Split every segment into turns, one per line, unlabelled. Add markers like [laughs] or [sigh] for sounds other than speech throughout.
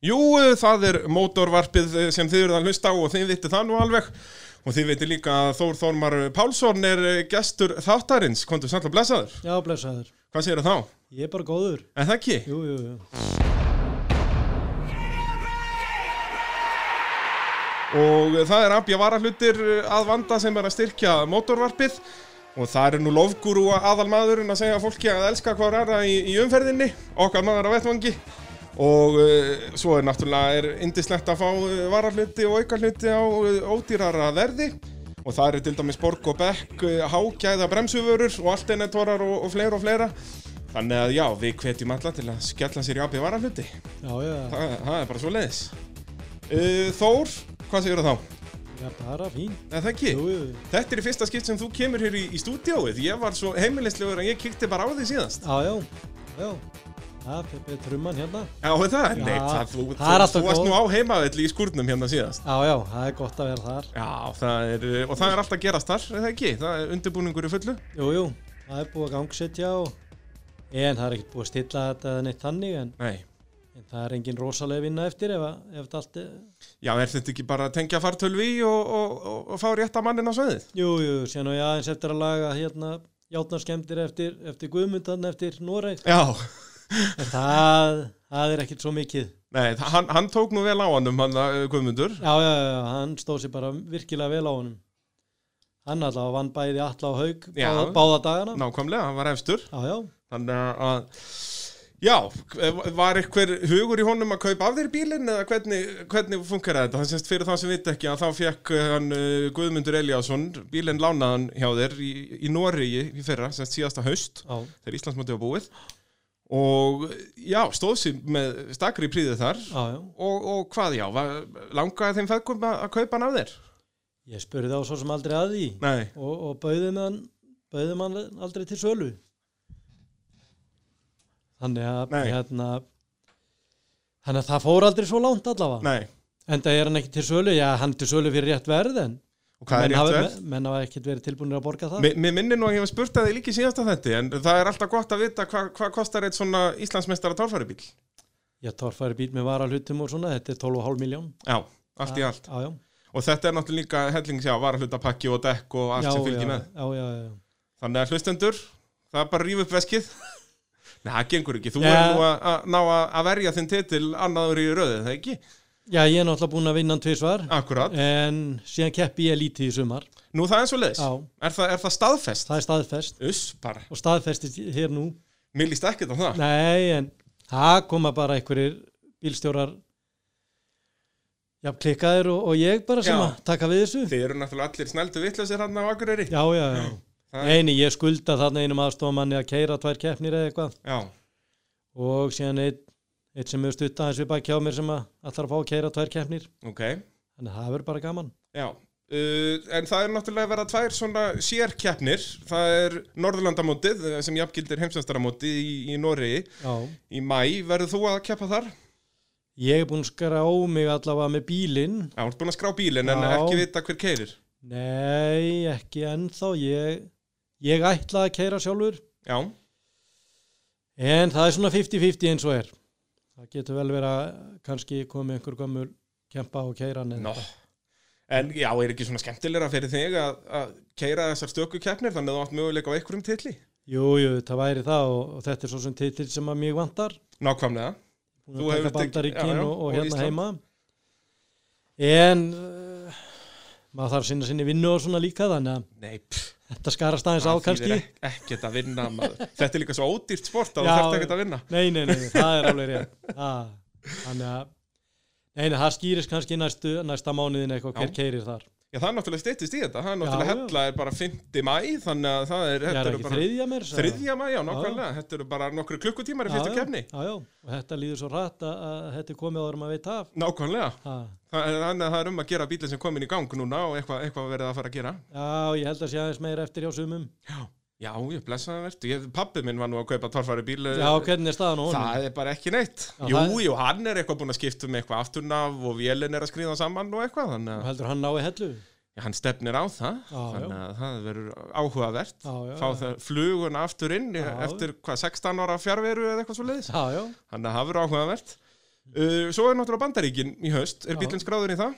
Jú, eh, það er mótorvarpið eh, sem þið eruð að hlusta á og þið vitið það nú alveg og þið vitið líka að Þór Þormar Pálsson er eh, gestur þáttarins, komdu samt að blessaður.
Já, blessaður.
Hvað segir þá?
Ég er bara góður.
En það ekki?
Jú, jú, jú.
Og eh, það er Abja Varahlutir eh, að vanda sem er að styrkja mótorvarpið og það er nú lofgúru aðalmaðurinn að segja fólki að elska hvað er það í, í umferðinni, okkar maður á vettvangi. Og uh, svo er náttúrulega er indislegt að fá uh, varahluti og aukarluti á uh, ódýrara verði og það eru til dæmis borg og bekk, uh, hágæða bremsuvörur og alternatorar og, og fleira og fleira. Þannig að já, við hvetjum alla til að skella sér í AB varahluti.
Já, já,
Það, það er bara svo leiðis. Uh, Þór, hvað segir þá?
já, bara fín.
Nei, það ekki.
Jú, jú, jú.
Þetta er í fyrsta skipt sem þú kemur hér í, í stúdíóið. Ég var svo heimilislegur að ég kíkti bara á því síðast.
Já, já, já. Það fer betur trumman hérna.
Já, er það?
Já,
Nei, það, þú,
það
þú,
er
þú,
alltaf
varst
góð.
nú á heimaðill í skúrnum hérna síðast.
Já, já, það er gott að vera þar.
Já, það er, uh, og það er alltaf að gerast þar, er það ekki? Það er undirbúningur í fullu.
Jú, jú, það er búið að gangsetja og... En það er ekkert búið að stilla þetta eða neitt þannig, en,
Nei.
en það er engin rosalega vinna eftir ef, að- ef þetta allt er...
Já, er þetta ekki bara að tengja fartölvi í og, og, og, og fá rétt að mannin á sveðið?
Jú, jú, síðan og ég aðeins eftir að laga hérna játnarskemdir eftir, eftir Guðmundan, eftir Noreg.
Já.
En það, það er ekkert svo mikið.
Nei, þa- hann, hann tók nú vel á hannum, hann uh, Guðmundur.
Já, já, já, já, hann stóð sér bara virkilega vel á honum. Hann allavega vann bæði alla á haug
Já.
báða, báða dagana.
Nákvæmlega, hann var efstur.
Já, já,
Þannig að, já, k- var eitthvað hugur í honum að kaupa af þér bílinn eða hvernig, hvernig funkar þetta? Það sést fyrir það sem veit ekki að þá fekk uh, hann uh, Guðmundur Eliasson, bílinn lánaðan hjá þér í, í Noregi í fyrra, sérst síðasta haust.
já,
þegar Íslandsmóti var búið og já, stóð sér með stakri príði þar
já, já.
og, og hvað já, var, langaði þeim feðgum að, að kaupa hann af þér?
Ég spurði þá svo sem aldrei að því
Nei,
og, og bauði með hann, bauði með hann aldrei til sölu. Þannig að,
Nei.
hérna, þannig að það fór aldrei svo langt allavega.
nei
En það er hann ekki til sölu, já, hann er til sölu fyrir rétt verð en
og hvað er
menn
rétt
hafa-
verð?
menn hafa ekkert verið tilbúinir að borga það.
Mér mér minnir nú að ég hef spurt að þið líki síðast að þetta en það er alltaf gott að vita hvað hva kostar eitt svona Íslandsmeistara torfaribíl
Ég torfæri bíl með varahlutum og svona, þetta er 12,5 miljón.
Já, allt í allt
Já, já.
og þetta er náttúrulega líka helling já, varhlutapakki og dekk og allt
já,
sem fylgir
já,
með
já, já, já.
Þannig að hlustendur, það er bara að rífa upp veskið. [laughs] Nei, það gengur ekki. Þú
Já.
er nú að, að ná að að verja þinn titil annaður í röðu, það ekki?
já, ég er náttúrulega búin að vinna hann tvisvar
Akkurat.
en síðan keppi ég lítið í sumar
Nú, það er svo leiðis.
Já.
Er, það, er það staðfest?
það er staðfest
Uss, bara.
og staðfestist hér nú
Mér líst ekkert á það.
nei, en það koma bara einhverjir bílstjórar já, klikkaðir og, og ég bara sem
Já.
að taka við þessu
Þið eru náttúrulega allir snældu vittlausir hann á Akureyri.
já, já, já
Það-
Einu, ég skulda þarna einum aðstofamanni að keira tvær keppnir eða eitthvað
Já.
og síðan einn eitt sem hefur stutt aðeins við baki á mér sem að allar að fá að keira tvær keppnir
ok.
þannig að það verður bara gaman
Já. Uh, en það er náttúrulega að vera tvær svona sérkeppnir. Það er Norðurlandamótið eh, sem jafngildir heimsvæmstaramótið í, í Noregi
já.
í mæ. Verður þú að keppa þar?
ég er búin að skrá mig allavega með bílinn
Já, þú ert búin að skrá bílinn en
Já.
ekki vita hver keirir.
Nei, ekki ennþá. Ég, ég ætla að keira sjálfur,
Já.
en það er svona 50-50 eins og er. Það getur vel verið að kannski komið einhver gömul kempa og keira hann.
Nó. En já, er ekki svona skemmtilegra fyrir þig að, að keira þessar stöku keppnir þannig að þú átt möguleika á einhverjum titli?
Jú, jú, það væri það og, og þetta er svo sem titill sem að mig vantar.
Nákvæmlega.
Búin
Þú
að
hefur
taka
tekið- já,
bandaríkin
já,
og,
og
og hérna
Ísland.
heima. En uh, maður þarf að sinna sinni vinnu og svona líka þannig að
Nei, pff,
þetta skarast aðeins á kannski.
ek, ekkert að vinna maður. Þetta er líka svo ódýrt sport að
Já.
þú þarft ekkert að vinna.
Nei, nei, nei, nei, það er alveg rétt Það- Þannig að Nei, nei, það skýrist kannski næstu, næsta mánuðin eitthvað hver
Já.
keirir þar
Já, það er náttúrulega styttist í þetta. Það er náttúrulega
Já, já.
hella er bara 50 mæ, þannig að það er,
Ég
þetta
er
eru
ekki
bara
þriðja mér sagði það.
þriðja mæ, já, nákvæmlega. Þetta eru bara nokkru klukkutímar í fyrstu
já,
keppni.
já, já, og þetta líður svo rætt að, að þetta er komið áður en maður veit af
Nákvæmlega.
ha.
Það er, þannig að það er um að gera bílinn sem komin í gang núna og eitthvað, eitthvað verið að fara að gera.
Já, ég held að sé aðeins meira eftir hjá sumum
Já, ég blessaði verðt. Pappi minn var nú að kaupa torfari bíl.
Já, hvernig er staðan á honum?
Eh, Það er bara ekki neitt.
Já,
jú,
það-
jú, hann er eitthvað búinn að skipta um eitthvað afturnaf og vélinn er að skriða saman og eitthvað, þannig
Og
að
heldur hann nái hellu?
Já, hann stefnir á það,
Já,
þannig
já.
að það verður áhugavert.
Já, já,
Fá
já.
það flugun aftur inn
Já.
eftir hvað, 16 ára fjárveru eða eitthvað svo leiðis.
Já, já,
Þannig að það verður áhugavert. Uh, svo er náttúrulega Bandaríkin í haust, er
Já.
bílinn skráður í það?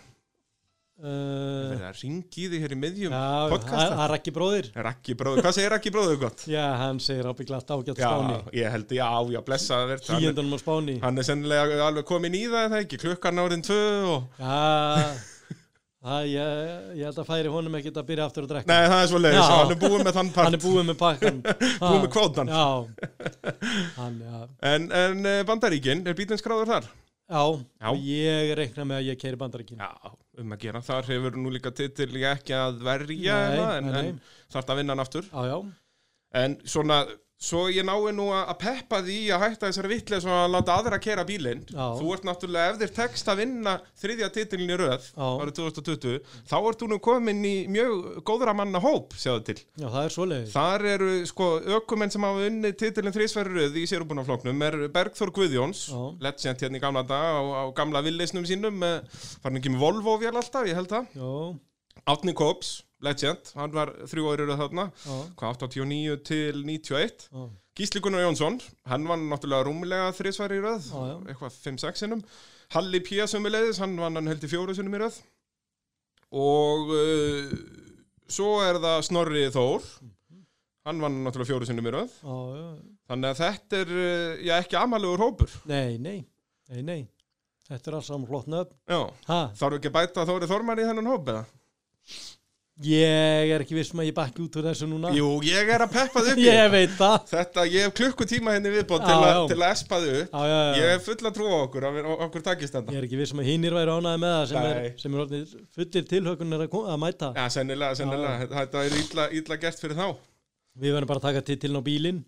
Það
Uh,
er að ringi því hér í miðjum
já,
podcasta.
það er ekki bróðir.
Raki bróður, hvað segir Raki bróður gott?
Já, hann segir ábygglagt ágætt
Já,
spáni.
ég held, já, já, blessa það verð hann,
Hlýjendunum á spáni.
hann er sennilega alveg komin í það, er það ekki, klukkan árin tvö og
Já, það, ég, ég held að færi honum ekkert að byrja aftur að drekka.
Nei, það er svo leiðis,
Já.
hann er búin með þann part
Hann er búið með pakkan.
[laughs] Búinn með kvótann.
Já, hann, já.
En, en eh, Bandaríkin, er bílinn skráður þar?
Já,
Já.
og ég reikna með að ég keiri bandaríkinu.
Já, um að gera, þar hefur nú líka titil ekki að verja
Nei,
eða, en,
nei, nei.
en þarf að vinna hann aftur
Já, já,
En svona, svo ég nái nú að að peppa því að hætta þessari vitlega svona að láta aðra kera bílinn
Já.
Þú ert náttúrulega, ef þér tekst að vinna þriðja titilin í röð
Já.
árið 2020 þá ert þú nú komin í mjög góðra manna hóp, sjáðu til
já, það er svoleiðis.
Þar eru sko ökumenn sem hafa unnið titilin þrísverruð í sérubunafloknum er Bergþór Guðjóns,
Já.
legend hérna í gamla dag á, á gamla villisnum sínum, eh, farin ekki með Volvo vél alltaf, ég held það.
Já,
Átni Kóps, legend, hann var þrjú árið þarna,
já,
hvað 89 til 91.
já,
Gísli Gunnar Jónsson, hann vann náttúrulega rúmlega þrísvar í röð,
Já, já.
eitthvað 5-6 sinnum. Halli Pía sömuleiðis, hann vann hann held í fjóru sinnum í röð. Og uh, svo er það Snorri Þór, hann vann náttúrulega fjóru sinnum í röð.
já, já.
Þannig að þetta er, uh, já ekki amalugur hópur.
Nei, nei, nei, nei. Þetta er alls saman flott nöfn.
Já,
Ha,
þarf ekki að bæta Þóri Þormar í þennan hóp eða?
ég er ekki viss um að ég bakki út úr þessu núna.
Jú, ég er að peppa þau upp í
[laughs] Ég veit það.
þetta, ég hef klukkutíma henni viðbótt
Já,
til, að-
já.
til að espa þau upp.
Já, já, já.
Ég hef fulla trú á okkur, að við- að okkur takist þetta.
Ég er ekki viss um að hinnir væri ánæði með það sem er,
Nei.
sem er orðnir fullir tilhökunar að, kom- að mæta.
Já, sennilega, sennilega. Þetta- Þetta er ítla, ítla gert fyrir þá.
Við verðum bara að taka titilin á bílinn.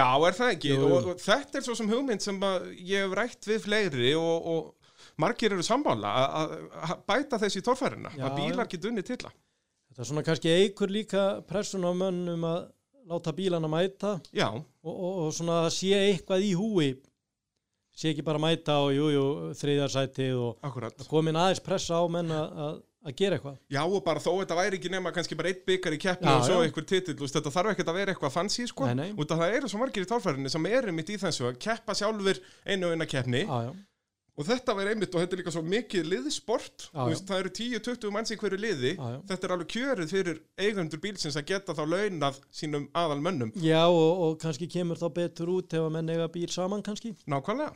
Já, er það ekki?
Jú, jú.
Og, og þetta er svo sem hugmynd sem að ég hef rætt við fleiri og, og margir eru sammála að- að að bæta þessi í torfærina.
Já,
Að bílar getur unni til það.
Þetta er svona kannski eikur líka pressun á mönnum að láta bílana mæta
Já,
og, og, og svona að sé eitthvað í húi. Sé ekki bara mæta og jújú, jú, þriðarsætið og
akkurat.
komin aðeins pressa á menn að, að, að gera eitthvað.
Já, og bara þó þetta væri ekki nema kannski bara einn byggar í keppni
Já,
og svo
já.
einhver titill. þú veist, Þetta þarf ekkert að vera eitthvað fancy, sko.
Nei, nei.
Út að það eru svo margir í torfærinu sem eru mitt í þessu að keppa sjálfur einu og eina keppni.
Ah, Já, já,
Og þetta væri einmitt og þetta er líka svo mikið liðsport,
Já,
þú veist, það eru 10-20 manns í hverju liði,
Já, já.
þetta er alveg kjörið fyrir eigendur bílsins að geta þá launað sínum aðal mönnum.
já og, og kannski kemur þá betur út ef að menn eiga bíl saman kannski
Nákvæmlega.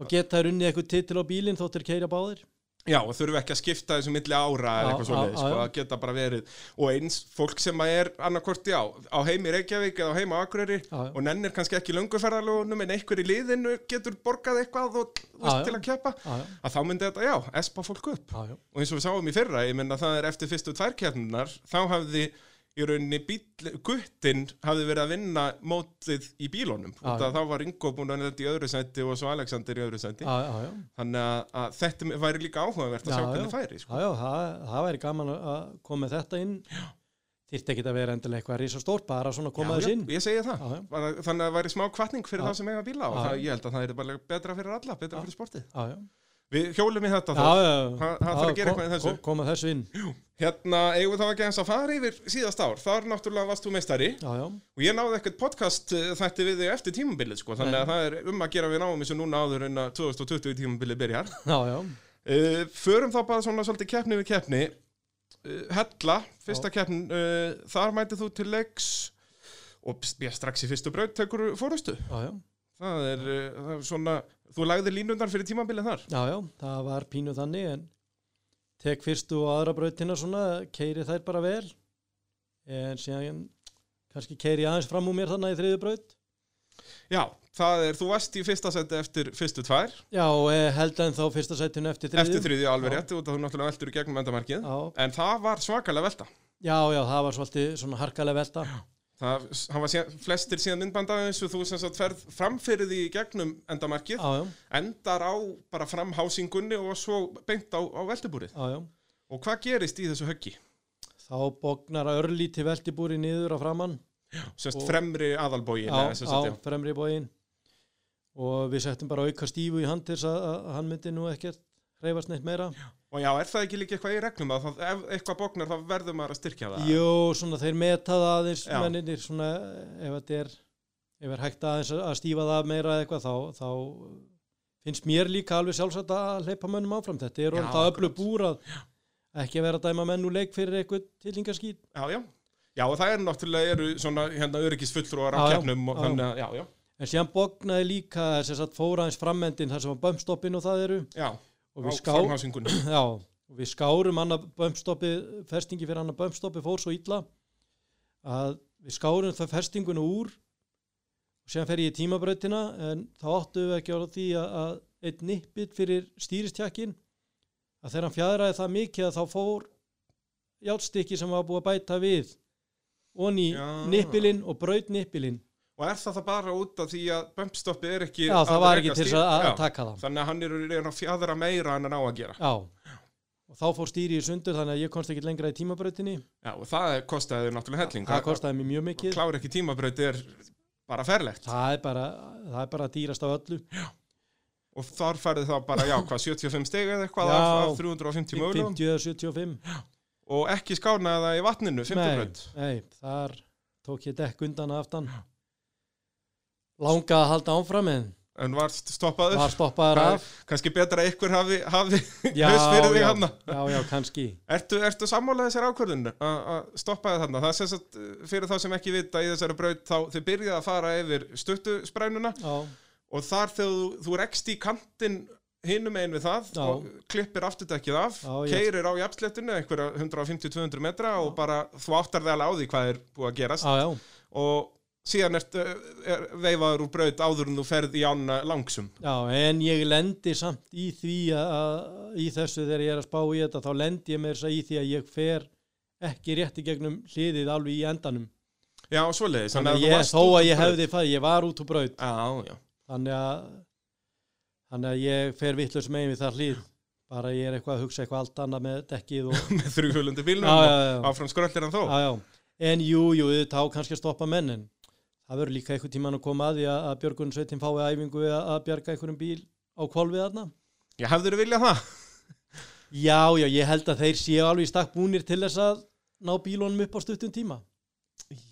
og geta þær unnið eitthvað titil á bílinn þóttir keira báðir.
Já, og þurfum ekki að skipta þessu milli ára
Já,
eða eitthvað
já,
svoleiðis,
já,
sko,
já.
að geta bara verið. Og eins fólk sem að er annarkorti á, á heimi Reykjavík eða á heimi á Akureyri
Já, já.
og nennir kannski ekki lönguferðalónum en einhver í liðinu getur borgað eitthvað og, þú
Já, já.
veist, til að keppa,
Já, já,
að þá myndi þetta, Ah, já, espa fólk upp.
já, já.
og eins og við sáum í fyrra, ég menna það er eftir fyrstu tvær keppnunar, þá hafði í rauninni bíl, guttinn hafði verið að vinna mótið í bílónum
Já,
út
já.
að þá var Ingo búin að þetta í öðru sendi og svo Alexander í öðru sendi
Ah, já, já, já.
þannig að, að þetta væri líka áhugavert að
Já,
sjá
já.
hvernig færi sko.
Ah, Já, já, það, það væri gaman að að koma með þetta inn. Þyrfti ekki að vera endilega eitthvað risastórt, bara svona að koma
Já,
þess
já,
inn.
ég segi það,
Já, já.
Bara, þannig að það væri smá kvartning fyrir
Já.
það sem eiga bíla og
Já,
það,
já.
ég held að það er bara betra fyrir alla, betra fyrir sportið
Já, já.
Við hjólum í þetta
Já,
þá,
já, já.
það það þarf að gera eitthvað í þessu
Koma þessu inn.
Hérna eigum við þá ekki eins að fara yfir síðast ár, þar náttúrulega varst þú meistari
Já, já,
Og ég náði ekkert podcast eh, þætti við þig eftir tímabilið sko, þannig að það er um að gera við náum þessu núna áður en að 2020 tímabilið byrjar.
já, já.
Uh, förum þá bara svona svolítið keppni við keppni. Uh, Hella, fyrsta keppn, uh, þar mætið þú til leiks og pst, ég, strax í fyrstu braut tekur fórustu.
Já, já,
Það er, uh, það er svona, þú lagði línundar fyrir tímabilið þar.
já, já, það var pínu þannig en tek fyrstu og aðra brautina svona, keiri þær bara vel en síðan kannski keiri aðeins fram úr mér þannig í þriðu braut.
Já, það er, þú varst í fyrsta seti eftir fyrstu tvær,
Já, og eh, held en þá fyrsta sætinu eftir þriðu.
eftir þriðju alveg
Já.
rétt og þú náttúrulega veltur í gegnum endamarkið.
Já,
En það var svakalega velta.
já, já, það var svolítið svona harkalega velta.
Það hafa sé, flestir síðan myndbanda eins og þú sem sagt ferð framfyrir því í gegnum endamarkið,
Já, já,
endar á bara framhásingunni og svo beint á, á veltubúrið.
já, já.
Og hvað gerist í þessu höggi?
þá bóknar að örlíti veltibúri niður á framann
Sérst
Og-
fremri aðalbógin.
á,
eða sem sagt,
á fremri bógin og við settum bara auka stífu í hand til þess að, að hann myndi nú ekkert reyfast neitt meira
Og já, er það ekki líka eitthvað í reglum að það, ef eitthvað bóknar þá verður maður að styrkja það?
Jó, svona þeir meta það aðeins
Já.
menninir svona ef þetta er ef er hægt aðeins að stífa það meira eða eitthvað þá, þá finnst mér líka alveg sjálfsagt að hleypa mönnum áfram þetta er
Já,
orðið að öllu
akkurat.
búrað ekki að vera að dæma menn úr leik fyrir eitthvað tilingaskýt
já, já. Já, og það eru náttúrulega eru svona hérna öryggisfulltrúar á
Já, já.
keppnum og
Já, já.
þannig að, já, já,
en síðan bóknaði líka þess að fóra aðeins framendin þar sem var bömmstoppin og það eru
já,
og við,
á
ská,
formhásingunni.
já, og við skárum annað bömmstoppi festingi fyrir annað bömmstoppi fór svo illa að við skárum það festinguna úr og síðan fer ég í tímabrautina en þá áttu við ekki á því að, að einn nippit fyrir stýristjakkin að þegar hann fjadraði það mikið að þá fór játstykki sem var búið að bæta við onni
Já.
nippilinn og braut nippilinn
Og er það það bara út af því að bumpstoppið er ekki...
já það
að
var
reka
ekki til þess
stýr-
að,
Já.
að taka það
Þannig að hann er að reyna að fjadra meira en hann á að gera.
Já, og þá fór stýrið í sundur þannig að ég komst ekki lengra í tímabrautinni
Já, og það kostiði þau náttúrulega helling.
það kostaði mér mjög mikið
Klára ekki tímabraut er bara ferlegt.
það er bara, það er bara dýrast af öllu
Og þar færði það bara, já, hvað, 75 steg eða eitthvað
Já.
af, af 350 mögulegum.
50 eða 75
Og ekki skánaði það í vatninu, 50
nei,
braut.
nei, þar tók ég dekk undan að aftan langaði að halda áfram en
En var stoppaður.
var stoppaður
Það er
af
Kannski betra að ykkur hafi, hafi
já,
[laughs] haus fyrir hérna. því
já,
hann.
já, já, kannski
Ertu, ertu sammálaðið þessari ákvörðinu að stoppa það þarna? Það er sem sagt, uh, fyrir þá sem ekki vita í þessari braut, þá þið byrjaði að fara yfir stuttusprænuna
já,
og þar þegar þú, þú rekst í kantinn hinum einn við það
Já.
og klippir afturdekkið af,
Já, ég-
keirir á jafnslettinu einhverja 150-200 metra og bara þú áttar vel á því hvað er búið að gerast
já, já,
og síðan ert, uh, er veifaður úr braut áður en þú ferð í ána langsum
já en ég lendi samt í því að, að í þessu þegar ég er að spá í þetta þá lendi ég með þess að segja í því að ég fer ekki rétt í gegnum hliðið alveg í endanum
Já, svoleiðis
þannig að
þú
ég,
varst út
þó að
úr
ég
braut.
hefði það, ég var út úr braut
Já, [laughs] já,
þannig að þannig að ég fer vittlust megin við það hlýð bara ég er eitthvað að hugsa eitthvað allt annað með dekkið
[laughs]
og
með þrjúfjölundi
já,
bílnum
já,
og
já, já,
áfram skröllir hann þó
já, já en jú, jú, þetta á kannski að stoppa mennin það verður líka einhver tíman að koma að því að, að Björgun Sveitin fái æfingu við að, að bjarga einhverjum bíl á kvolfið þarna
Já, hefður þú viljað það?
já, já, ég held að þeir séu alveg í stakk búnir til þess að ná bílunum upp á stuttum tíma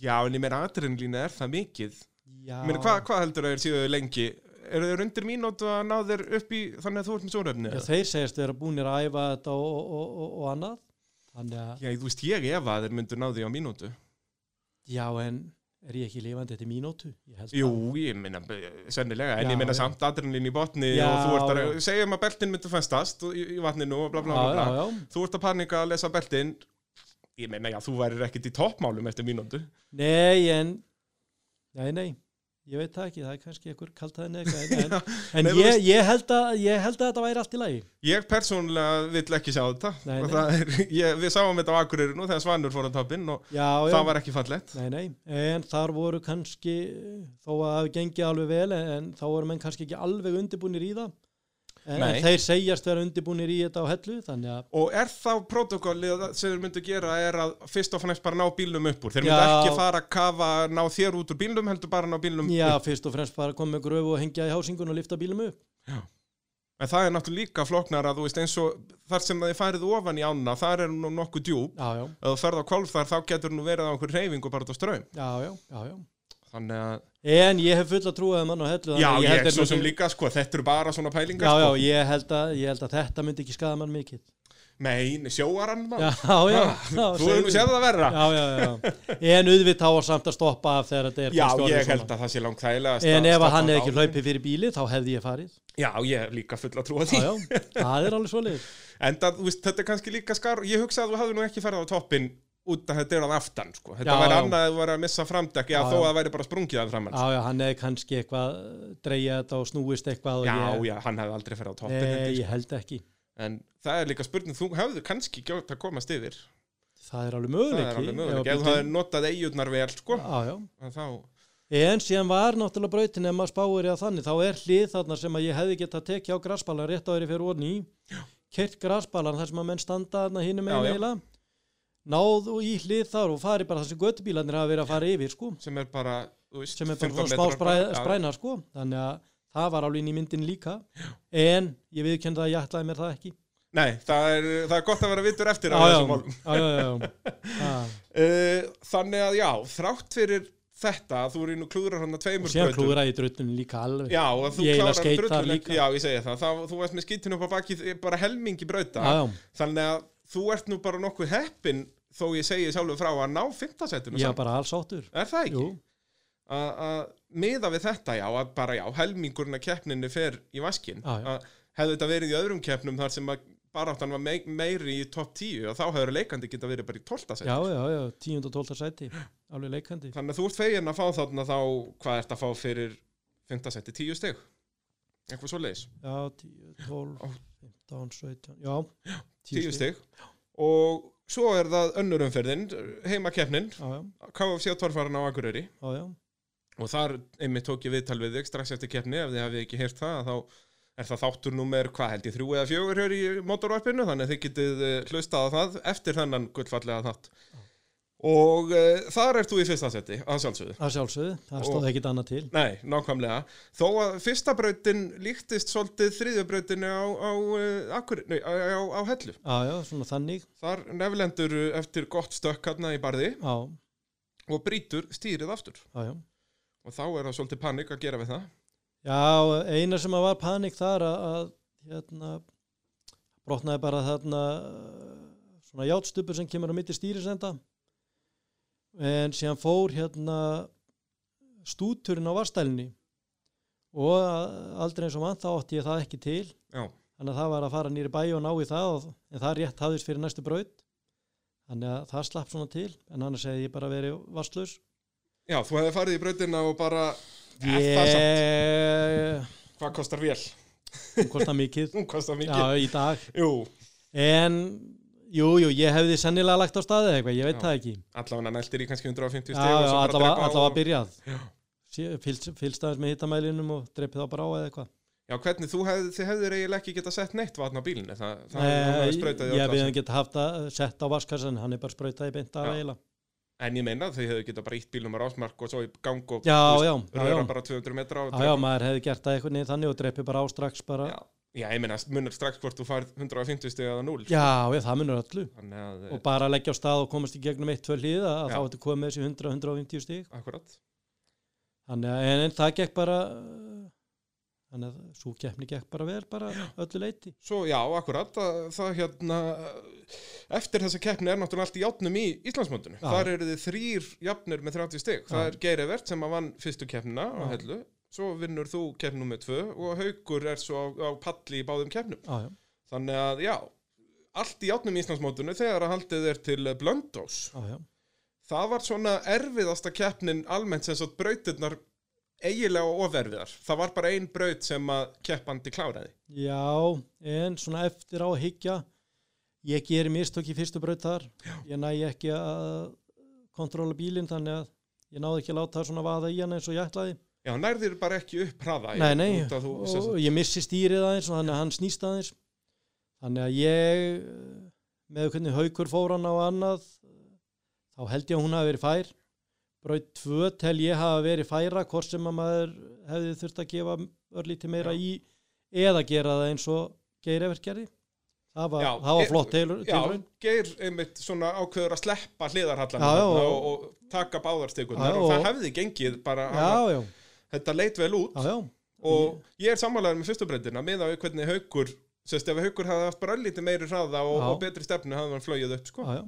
Já, en ég meina adrenalínu er það mikið
já,
Mér, hvað, hvað heldur að þeir síðu lengi? Eru þeir undir mínútu að ná þeir upp í þannig að þú ert með sórefni?
já þeir segjast þeir að búnir að æfa þetta og, og, og, og, og annað þannig að
Já, þú veist, ég ef að þeir myndu ná því á mínútu.
Já, en er ég ekki lifandi þetta mínútu? Ég held
Jú,
það.
ég minna, sennilega, en
Já,
ég minna
já.
samt adrenalín í botni
Já,
og þú ert að
já.
segja um að beltin myndu festast og í í vatninu og bla bla bla.
Já,
bla.
já, já.
Þú ert að panika að lesa beltin, ég meina, já, þú værir ekkit í toppmálum eftir mínútu.
Nei, en Nei, nei, ég veit það ekki það er kannski einhver kaltaði nega
[laughs]
en, en
nei, þú
ég,
veist-
ég, held að, ég held að þetta væri allt í lagi
Ég persónulega vill ekki sjá þetta.
Nei,
og
nei.
það Er, [laughs] ég, við sáum þetta á Akureyri nú þegar Svanur fór á toppinn og
Já, já,
það var ekki fallett.
nei, nei en þar voru kannski þó að hafi gengið alveg vel en, en þá voru menn kannski ekki alveg undirbúnir í það en,
Nei.
en þeir segjast vera undirbúnir í þetta á hellu þannig að
Og er þá protokollið að- sem þeir myndu gera er að fyrst og fannst bara ná bílnum upp úr? Þeir myndu
Já.
ekki fara að kafa, ná þér út úr bílnum, heldur bara ná bílnum
já,
upp.
fyrst og fremst bara koma með gröfu og hengja í hásingun og lifta bílum upp
En það er náttúrulega líka flóknar að þú veist eins og þar sem þið færið ofan í ána, þar er nú nokkuð djúb.
Já, já,
Ef þú ferð á kolf þar, þá getur nú verið á einhver reyfingu bara út á ströym.
já, já, já, já.
Þannig að,
En ég hef fulla trúið að mann á hellu
já,
þannig að
ég,
held
er
þeir
svo
myndu-
sem líka, sko, þetta eru bara svona pælingar,
Já, já,
sko.
ég held, að, ég held að þetta myndi ekki skada mann mikið
Mein, sjóaran,
Já,
maður.
[laughs] já,
[laughs]
já
Þú hefur nú séð það verra.
Já, já, já En auðvitað á að samt að stoppa af þegar þetta er
Já,
kannski orðið
ég
svona.
held að það sé langt þægilegast að
En ef að
stoppa
hann
á.
hefði ekki hlaupið fyrir bíli þá hefði ég farið
Já, ég er líka full að trúa því
Já, já,
[laughs]
það er alveg svolítið
En það, veist, þetta er kannski líka skar Ég hugsa að þú hafði nú ekki ferð á toppin út að þetta er að aftan sko. Þetta
Já,
væri
já.
annað að þú væri að missa framdekk já,
Já,
þó
já.
að það væri bara sprungið að sko. framann
Já, já, hann hefði kannski eitthvað dreigja þetta og snúist eitthvað og
Já,
ég,
já, hann hefði aldrei ferð á toppin
Nei,
held ég,
ég held ekki
sko. En það er líka spurning, þú hefðu kannski gjótt að komast yfir
Það er alveg
Það
möguleiki
er alveg
ef
möguleik
að
Ef þú hefði
bíllinn-
notað eigurnar vel sko,
Já, já
að þá,
En síðan var náttúrulega brautin ef maður spáir í að þannig, þá er hlið þarna sem að ég hefði getað tekið á grassballan rétt á þeirri fyrir orni í, kert grassballan þar sem að menn standa þarna hinum
Já,
einu
já.
eiginlega, náð og í hlið þar og fari bara þar sem göttubílanir hafa verið að fara yfir sko,
sem er bara þú veist,
sem er
15
bara svona
metrar
smá spræ,
bara- já,
spræna sko, þannig að það var alveg inn í myndin líka, en ég viðkjönda að ég ætlaði mér það ekki.
Nei, það er, það er gott að vera vittur eftir á Eh,
Já, já,
þessum málum. [laughs]
já, já, já, já,
Uh, þannig að já, þrátt fyrir þetta að þú eru inn og klúðrar hann að
og
tveimur
síðan
brautum.
klúðra ég drullinu líka alveg
Já, og þú
Ég eiginlega
klárar
skeita
drullulegt-
líka.
Já, ég segi það, það þú ert með skeitin upp á baki bara helmingi brauta
Já, já.
þannig að þú ert nú bara nokkuð heppin þó ég segi sjálfur frá að ná fimmtasettinu
ég var bara alls áttur
er það ekki?
Jú,
Að- að miða við þetta já, að bara já, helmingurinn að keppninni fer í vaskin,
Já, já.
að hefði þetta verið í öðrum keppnum þar sem að baráttan var mei- meiri í topp 10 og þá hefur leikandi geta verið bara í 12.
já,
seti
já, já, 10. og 12. sæti alveg leikandi,
þannig að þú ert fegin að fá þarna þá hvað ert að fá fyrir 5. seti 10 steg eitthvað svo leiðis
já, 10, 12 15, 17, já
10 stig og svo er það önnur umferðin heimakeppnin,
já, já,
KFC Torfarinn á Akureyri
já, já,
og þar einmitt tók ég viðtal við þig strax eftir keppni ef þið hafið ekki heyrt það þá er það þáttur númer, hvað held ég, þrjú eða fjögur hér í motorvarpinu, þannig að þið getið eh, hlustað á það eftir þennan gullfallega þátt og uh, þar ert þú í fyrsta seti, að sjálfsögðu
það sjálfsögðu það
Og-
stóð ekkit annað til
Nei, nákvæmlega. Þó að fyrsta brautin líktist svolítið þriðju brautinu á, á, eh, Akurey- nei, á, á, á hellu.
já, já, svona þannig,
Þar neflendur eftir gott stökk hérna í barði
já,
og brýtur stýrið aftur.
já, já
Og þá er það svolítið panik að gera við það.
Já, eina sem að var panik þar að, að hérna, brotnaði bara þarna eh, svona játstupur sem kemur á mitti stýrisenda en síðan fór hérna stúturinn á varstælinni og að- aldrei eins og mann þá átti ég það ekki til
Já,
þannig að það var að fara nýri bæ og ná í það og, en það rétt hafðist fyrir næstu braut þannig að það slapp svona til en annars hefði ég bara verið vastlus
Já þú hefði farið í brautina og bara, Eh, það samt.
Ég,
hvað kostar vel?
hún kostar mikið
Hún kostar mikið.
Já, í dag
Jú,
En, jú, jú, ég hefði sennilega lagt á staði eitthvað, ég veit
Já.
það ekki
allavega næltir í kannski 150
Já,
steg og
já,
svo bara
allavega
drepa á
allavega
og-
byrjað
Já.
Sé- fylgst fylgst aðeins með hittamælinum og dreipið á bara á eða eitthvað
Já, hvernig þú hefði, þið hefðir eiginlega ekki geta sett neitt vatn á bílinni. Það, það hefði
Nei,
sprautað í
Eh, ég
öll
við
á sig.
hefum gett haft að sett á vaskassan hann er bara sprautað í beint af
Já.
eiginlega
En ég meina þau hefðu geta bara ítt bílum á rásmark og svo í gang og
Já,
þú
já, já,
röra
já,
bara 200 metra og
já, já, maður hefði gert það eitthvað niður þannig og dreipið bara á strax bara
Já. Já, ég meina, munar strax hvort þú farð 150 stig eða 0
Já, ég, það munur öllu
Þannig að,
og bara að leggja á stað og komast í gegnum eitt, tvö hlýða að
Eh. Já.
þá ertu komið þessi 100-150 stík
akkurat
Þannig að en, en það gekk bara uh, þannig að svo keppni gekk bara vel bara öllu leiti
Svo, já, akkurat, það, það hérna Eftir þessa keppni er náttúrulega allt í játnum í Íslandsmóndinu
Já.
Þar eru þið þrýr jafnir með 30 stig Það
Já.
er Geir Evert sem að vann fyrstu keppnina á
Já.
hellu Svo vinnur þú keppnum með tvö og Haukur er svo á, á palli í báðum keppnum
Já, já,
Þannig að, já, allt í játnum í Íslandsmóndinu þegar að haldið er til Blöndós
já, já,
Það var svona erfiðasta keppnin almennt sem svo brautirnar eiginlega of erfiðar. Það var bara ein braut sem að keppandi kláraði.
já en svona eftir á að hyggja ég geri mistök í fyrstu braut þar já. ég næ ekki að kontróla bílinn þannig að ég náði ekki að láta það svona vaða í hann eins og ég ætlaði
Já, nærðir bara ekki upp hraða.
Nei, nei,
út að þú,
og
sem sagt-
ég missi stýrið aðeins og þannig að hann snýst aðeins þannig að ég eh, með hvernig haukur fór hann á annað þá held ég að hún hafi verið fær braut tvö tel ég hafa verið færa hvort sem að maður hefði þurft að gefa örlítið meira í eða gera það eins og geirverkjari það var,
Já,
það
e-
var flott tilraun
Já,
tilraun.
geir einmitt svona ákveður að sleppa hliðarhallan
Já, já,
og,
og-
og taka báðarsteikunar
Já,
og það
og-
hefði gengið bara,
já,
að,
já,
þetta leit vel út
já, já,
og ég er sammálaður með fyrstu breytina með að hvernig haukur, sérst ef haukur hafði haft bara lítið meiri hraða og,
Já.
og betri stefnu hafði hann flögið upp sko.
já, já.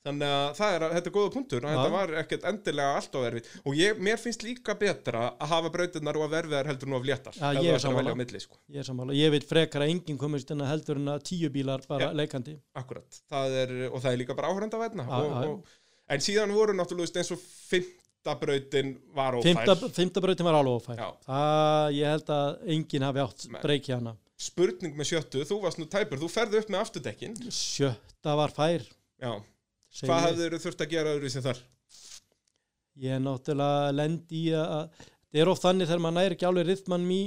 þannig að það er, þetta er góða punktur og
Já.
þetta var ekkert endilega allt á erfið og ég, mér finnst líka betra að hafa brautirnar og að verfiðar heldur nú af léttar
Já,
ef þú
ég er
ætlar að
sammála.
velja á milli, sko.
Ég, er sammála. ég vil frekar að enginn komist en að heldur en að tíu bílar bara
Já.
leikandi
Akkurat, það er, og það er líka bara áhörenda vætna
Já, já.
en síðan voru náttúrulega eins og fymta brautin var ófær
Fymta, fymta brautin var alveg ófær
Já.
Það, ég held að enginn hafi átt
Nei.
breyki hana
spurning með sjöttu, þú varst nú tæpur, þú ferði upp með afturdekkin
Sjötta var fær
Já,
segi
hvað
ég.
hefðu þurft að gera öðru sem þar?
Ég er náttúrulega lend í að að- Það er oft þannig þegar maður næri ekki alveg rithmann í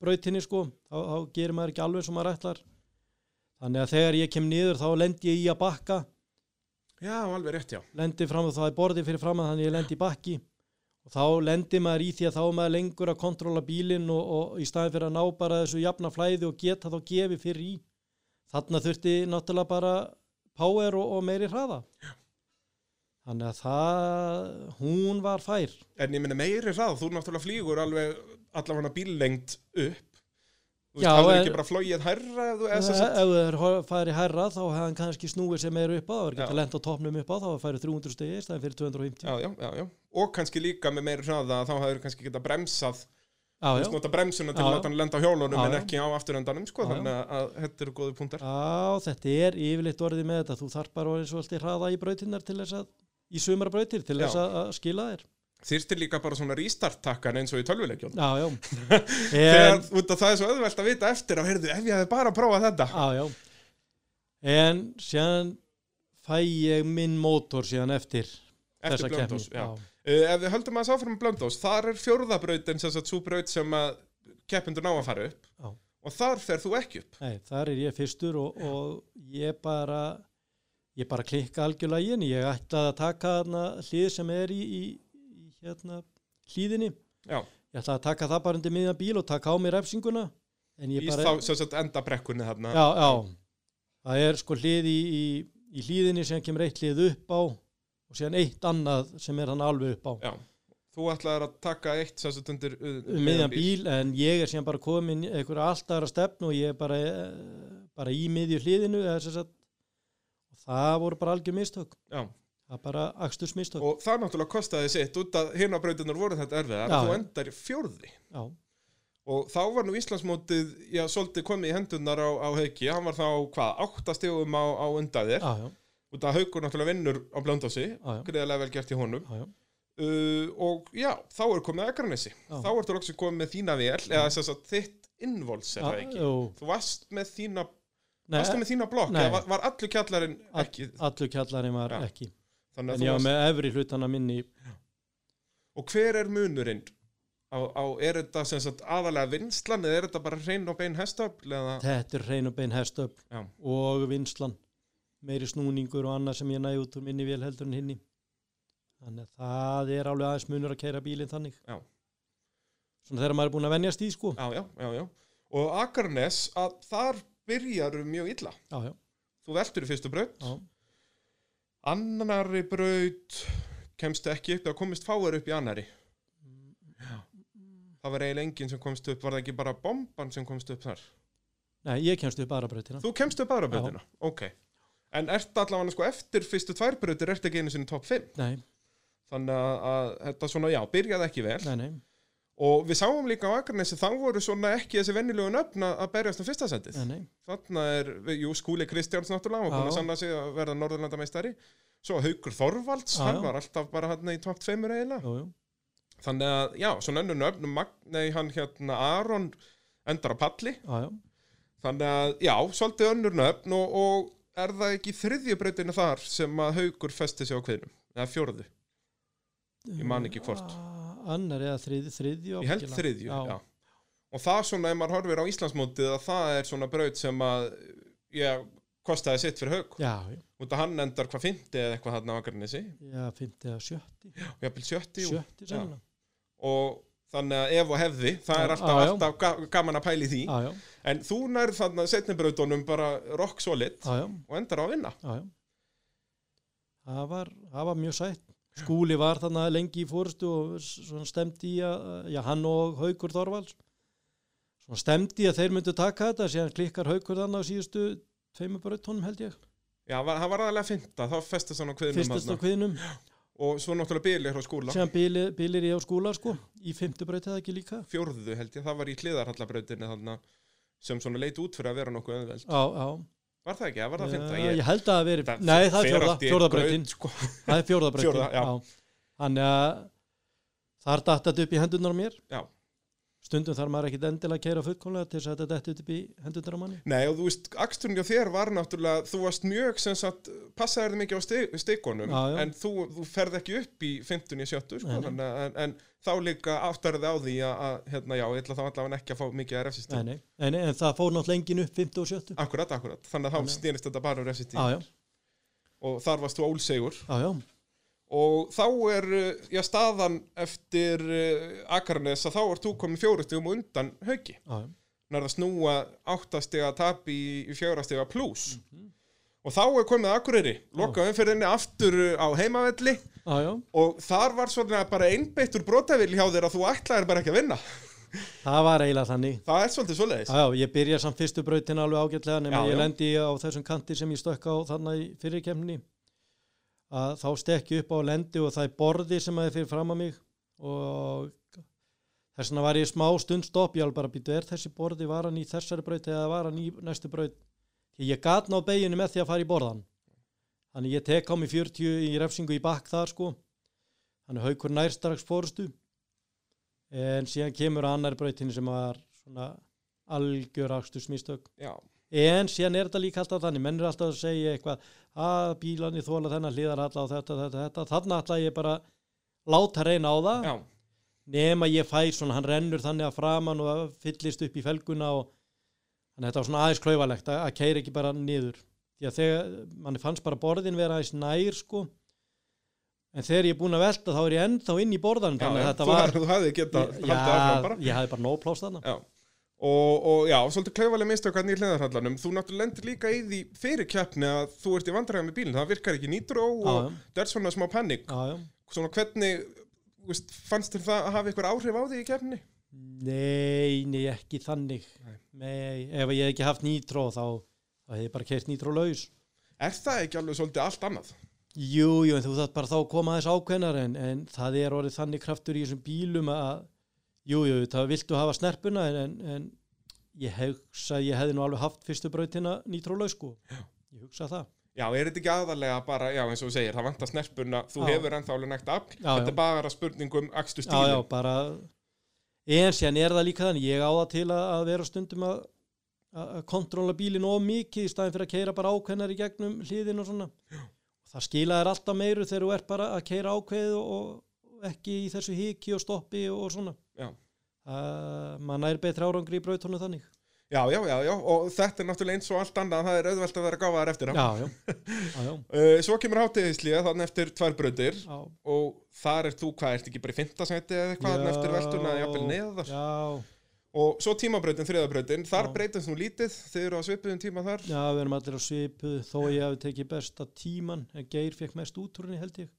brautinni sko þá, þá gerir maður ekki alveg sem maður ætlar Þannig að þegar ég kem niður þá lend ég í að bakka
Já, alveg rétt, já
lendi fram og þá er borðið fyrir fram að þannig ég lendi í bakki og þá lendi maður í því að þá er maður lengur að kontróla bílinn og, og í staðin fyrir að ná bara þessu jafna flæði og geta þá gefi fyrir í þarna þurfti náttúrulega bara power og, og meiri hraða þannig að það, hún var fær
En ég minna meiri hrað, þú náttúrulega flýgur alveg allavega bíllengd upp. Þú
Já, eh,
veist, hafður
en-
ekki bara flóið hærra ef þú eða
ef
þess að...
það er farið hærra þá hefði hann kannski snúið sem meira upp á það var
Já.
ekki að lenda á topnum upp á þá færið 300 stegi í staðin fyrir 250
Já, já, já, já. Og kannski líka með meiri hraða að þá hafður kannski geta bremsað, þú
já,
veist,
já.
nota bremsuna til
Já,
að
já.
láta hann lenda á hjólunum
Já,
en
já.
ekki á afturendanum, sko,
Já, já.
þannig að, að þetta eru góði punktar.
já, þetta er yfirleitt orðið með þetta þú þarf bara orðið svolítið hraða í brautinnar til þess að í sumar brautir til þess
Já.
að, að skila þér
Þýrtir líka bara svona restart-takkan eins og í tölvuleikjón.
já, [laughs] já
Þegar,
en,
út af það er svo öðvelt að vita eftir á, heyrðu, ef ég hefði bara prófað þetta.
já, já. en síðan fæ ég minn mótor síðan eftir,
Eftir
þessa keppni
Blöndós, já. Uh, ef við höldum að sá fram Blöndós, þar er fjórðabrautin sem sagt svo braut sem að keppendur ná að fara upp
Já.
og þar fer þú ekki upp.
Nei, þar er ég fyrstur og, og ég bara ég bara klikka algjörlega í henni ég ætlaði að taka hana hlið sem er í, í, í hérna hlíðinni
Já,
ég ætlaði að taka það bara undir miðan bíl og taka á mig refsinguna en ég
í
bara
þá sem sagt endabrekkunni þarna.
já, já, það er sko hlið í, í, í hlíðinni sem kemur eitt hlið upp á og síðan eitt annað sem er hann alveg upp á
Já. Þú ætlaðir að taka eitt sem sagt undir uh,
um miðjan bíl en ég er síðan bara komin einhverja allt aðra stefnu og ég er bara, eh, bara í miðju hliðinu eða sem sagt og það voru bara algjör mistök
Já.
það er bara aksturs mistök
Og það náttúrulega kostaði sitt út að hérna brautinur voru þetta erfiðar
Já,
að þú
já.
endar í fjórði.
já,
Og þá var nú Íslandsmótið, já, svolítið komið í hendunar á, á Hauki, hann var þá, hvað, áttastegum á, á undaðir.
já, já,
Út að Haukur náttúrulega vinnur á Blöndósi,
já, já,
greiðlega vel gert í honum.
já, já.
uh, og já, þá er komið að Akranesi
Já.
þá ertu loksum komið með þína vél eða þess að þitt involts er það
Já,
ekki
jú.
þú varst með þína,
Nei,
varstu með þína blokk
Nei.
eða var, var allur kjallarinn
All-
ekki
allur kjallarinn var
Já.
ekki
þannig
en
að
ég
þú
var
varst,
með efri hlutana minni
og hver er munurinn á, á er þetta sem sagt aðalega vinslan eða er þetta bara hrein og bein hestöfl eða
þetta er hrein og bein hestöfl
Já.
og vinslan meiri snúningur og annað sem ég næði út úr minni vél heldur en hinni þannig að það er alveg aðeins munur að keira bílinn þannig
Já.
svona þegar maður er búin að venjast í sko
já, já, já, já og Akranes að þar byrjarum mjög illa
já, já,
þú veltur í fyrstu braut
já,
annari braut kemst ekki upp, það komist fáir upp í annari það var eiginlega enginn sem komst upp, var það ekki bara bomban sem komst upp þar?
Nei, ég kemst upp aðra brautina.
Þú kemst upp aðra brautina? Ok. En ert allavega sko eftir fyrstu tvær brautir, ert ekki einu sinni top 5?
Nei,
Þannig að, að þetta svona, já, byrjaði ekki vel.
nei, nei.
Og við sáum líka á Akranesi, þá voru svona ekki þessi vennilegu nöfn að að berjast um fyrsta sendið.
nei, nei.
Þannig er, við- jú, Skúli Kristjáns náttúrulega, hann var búin að
Já.
sanna sig að verða Norðurlandameistari. Svo Haukur Þorvalds,
Já,
hann
já.
var alltaf bara hann í top 5 eiginlega.
Jú, jú.
Þannig að, já, svona önnur nöfn, Magn- nei, hann hérna Aron endar á palli.
Já, já.
Þannig að, já, svolítið önnur nöfn og, og er það ekki þriðju breytinu þar sem að haugur festi sig á kviðnum? Eða fjórðu? Ég man ekki hvort.
Ah, Annar eða þriðju, þriðju.
Ég held
ábyggilega.
þriðju, já. Og það svona, ef maður horfir á Íslandsmótið, að það er svona braut sem að, já, kostaði sitt fyrir haug.
Já, já,
Út að hann endar hvað fymti eða eitthvað þarna á Akarnesi,
já, fymti eða sjötti.
og jafnvel sjötti. og-
Sjötti sennilega.
Og þannig að ef og hefði, það er
Já,
alltaf,
já, já.
alltaf ga- gaman að pæli því.
Já, já,
En þú nærð þarna setni brautunum bara rock solid
já, já,
og endar á að vinna.
já, já. Það var, það var mjög sætt. Skúli var þarna lengi í fórustu og s- svona stemdi í að, já, hann og Haukur Þorvalds. Svona stemdi í að þeir myndu taka þetta, síðan klikkar Haukur þarna á síðustu tveimur brautunum held ég.
Já, var, hann var aðalega fynda, þá festist hann á kviðnum
Fyrstast á kviðnum.
og svo náttúrulega bílir á skúla
sem bílir, bílir ég á skúla sko í fymtu braut eða ekki líka
fjórðu held ég, það var í hliðarhallabrautinni þarna sem svona leit út fyrir að vera nokkuð öðveld
á, á,
var það ekki, var það fynda
Eh, ég, ég held að það veri nei það er
fer
fjórða,
allt í
fjórða
einn
brautin
graut, sko.
það er fjórða brautin
Fjórða, já.
þannig að þar datt þetta upp í hendunar á mér
Já.
stundum þarf maður ekkit endilega að keira fullkomlega til þess að þetta dætti upp í hendunar á manni
Nei og þú veist, aksturinn hjá þér var náttúrulega þú varst mjög sem sagt, passaði þér mikið á stig- stikunum,
Já, já.
en þú, þú ferð ekki upp í 15 í 70 sko,
Nei, nei.
þannig að- en, en þá líka áttarði á því að, að hérna, já, ég ætla þá allavega ekki að fá mikið að refsistum,
nei, nei. En, en það fór náttúrulega engin upp fymtu og sjöttu
akkurat, akkurat þannig að þá
Þannig að-
stýrist þetta bara um refsistum
já, já,
og þar varst þú ólsegur
já, já,
og þá er uh, já, staðan eftir uh, Akarnes að þá er þú komin fjórastegum undan hauki
já, já. Mhm.
nærða snúa áttastega tap í, í fjórastega pluss og þá er komið Akureyri, loka umferðinni aftur uh, á heimavelli
já, já.
og þar var svona bara einbeittur brotavil hjá þér að þú ætlaðir bara ekki að vinna
það var eiginlega þannig
það er svolítið svoleiðis
já, já, ég byrja samt fyrstu brautin alveg ágætlega nema
Já,
ég
já.
lendi á þessum kanti sem ég stökk á þarna í fyrirkemni að þá stekki upp á lendi og það er borði sem að er fyrir fram að mig og þess vegna var ég smá stund stopp ég alveg bara býtu, er þessi borði, var hann í þessari braut eða var hann í næstu braut Því ég gat ná beginu með því að fara í borðan þannig ég tek á mig 40 í refsingu í bakk þar sko þannig haukur nær strax fórustu en síðan kemur að annar brautinni sem var svona algjör akstur smýstök
Já.
en síðan er þetta líka alltaf þannig menn er alltaf að segja eitthvað að bílarni þóla þennan hliðar alla og þetta, þetta, þetta þannig alltaf ég bara láta reyna á það
Já.
nema ég fæ svona, hann rennur þannig að framan og fyllist upp í felguna og þannig að þetta var svona aðeins klaufalegt að, að keira ekki bara niður því að þegar, manni fannst bara borðin vera aðeins nær sko en þegar ég er búinn að velta þá er ég ennþá inn í borðan
Já,
þannig að
já,
þetta
þú,
var
var, þú hafði getað haldið áfram
já,
bara
ég hafði bara nóg pláss þarna
Já. Og, og já, svolítið klaufalega mistök hann í hliðarhallanum, þú náttúrulega lendir líka í því fyrir keppni að þú ert í vandræða með bílinn, það virkar ekki nýtró og
já.
það er svona smá panik,
já, já.
svona hvernig þú veist, fannst þér það að hafa eitthvað áhrif á því í keppni?
nei, nei, ekki þannig
Nei.
nei. ef ég hef ekki haft nýtró þá, þá hef ég bara keirt nýtró laus
Er það ekki alveg svolítið allt annað?
Jú, jú, en þú þarf bara þá að koma aðeins ákveðnar en, en það er orðið þannig kraftur í þessum bílum að, jú, jú, það viltu hafa snerpuna en, en, en ég hugsa að ég hefði nú alveg haft fyrstu brautina nýtrólaug sko, ég hugsa það.
Já, er þetta ekki aðalega bara, já eins og þú segir, það vantar snerpuna, þú
Já.
hefur ennþá alveg nægt afl,
Já, já.
þetta er bara spurningum akstu
Já, já,
stílinn.
bara, en síðan er það líka þannig, ég á það til að, að vera stundum að, að að kontróla bílinn of mikið í staðin fyrir að keira bara ákveðnar í gegnum hliðin og svona. Já. Það skila þér alltaf meiru þegar þú ert bara að keira ákveðið og, og ekki í þessu hiki og stoppi og, og svona.
Já.
uh, mann er betri árangri í brautunum þannig
já, já, já, já, og þetta er náttúrulega eins og allt annað, það er auðvelt að vera gáfaðar eftir á. [laughs]
já, já, já, já,
Uh, svo kemur hátíðislíða þannig eftir tvær bröndir
já.
og þar er þú, hvað, ert ekki bara í fintasæti eða eitthvað þarna eftir veltuna, jafnvel neðar
já,
og svo tímabröndin, þriðabröndin, þar
Já.
breytast nú lítið þið eru á svipuðum tíma þar
já, við erum allir á svipu þó ég hafi tekið besta tíman en Geir fekk mest útrúni held ég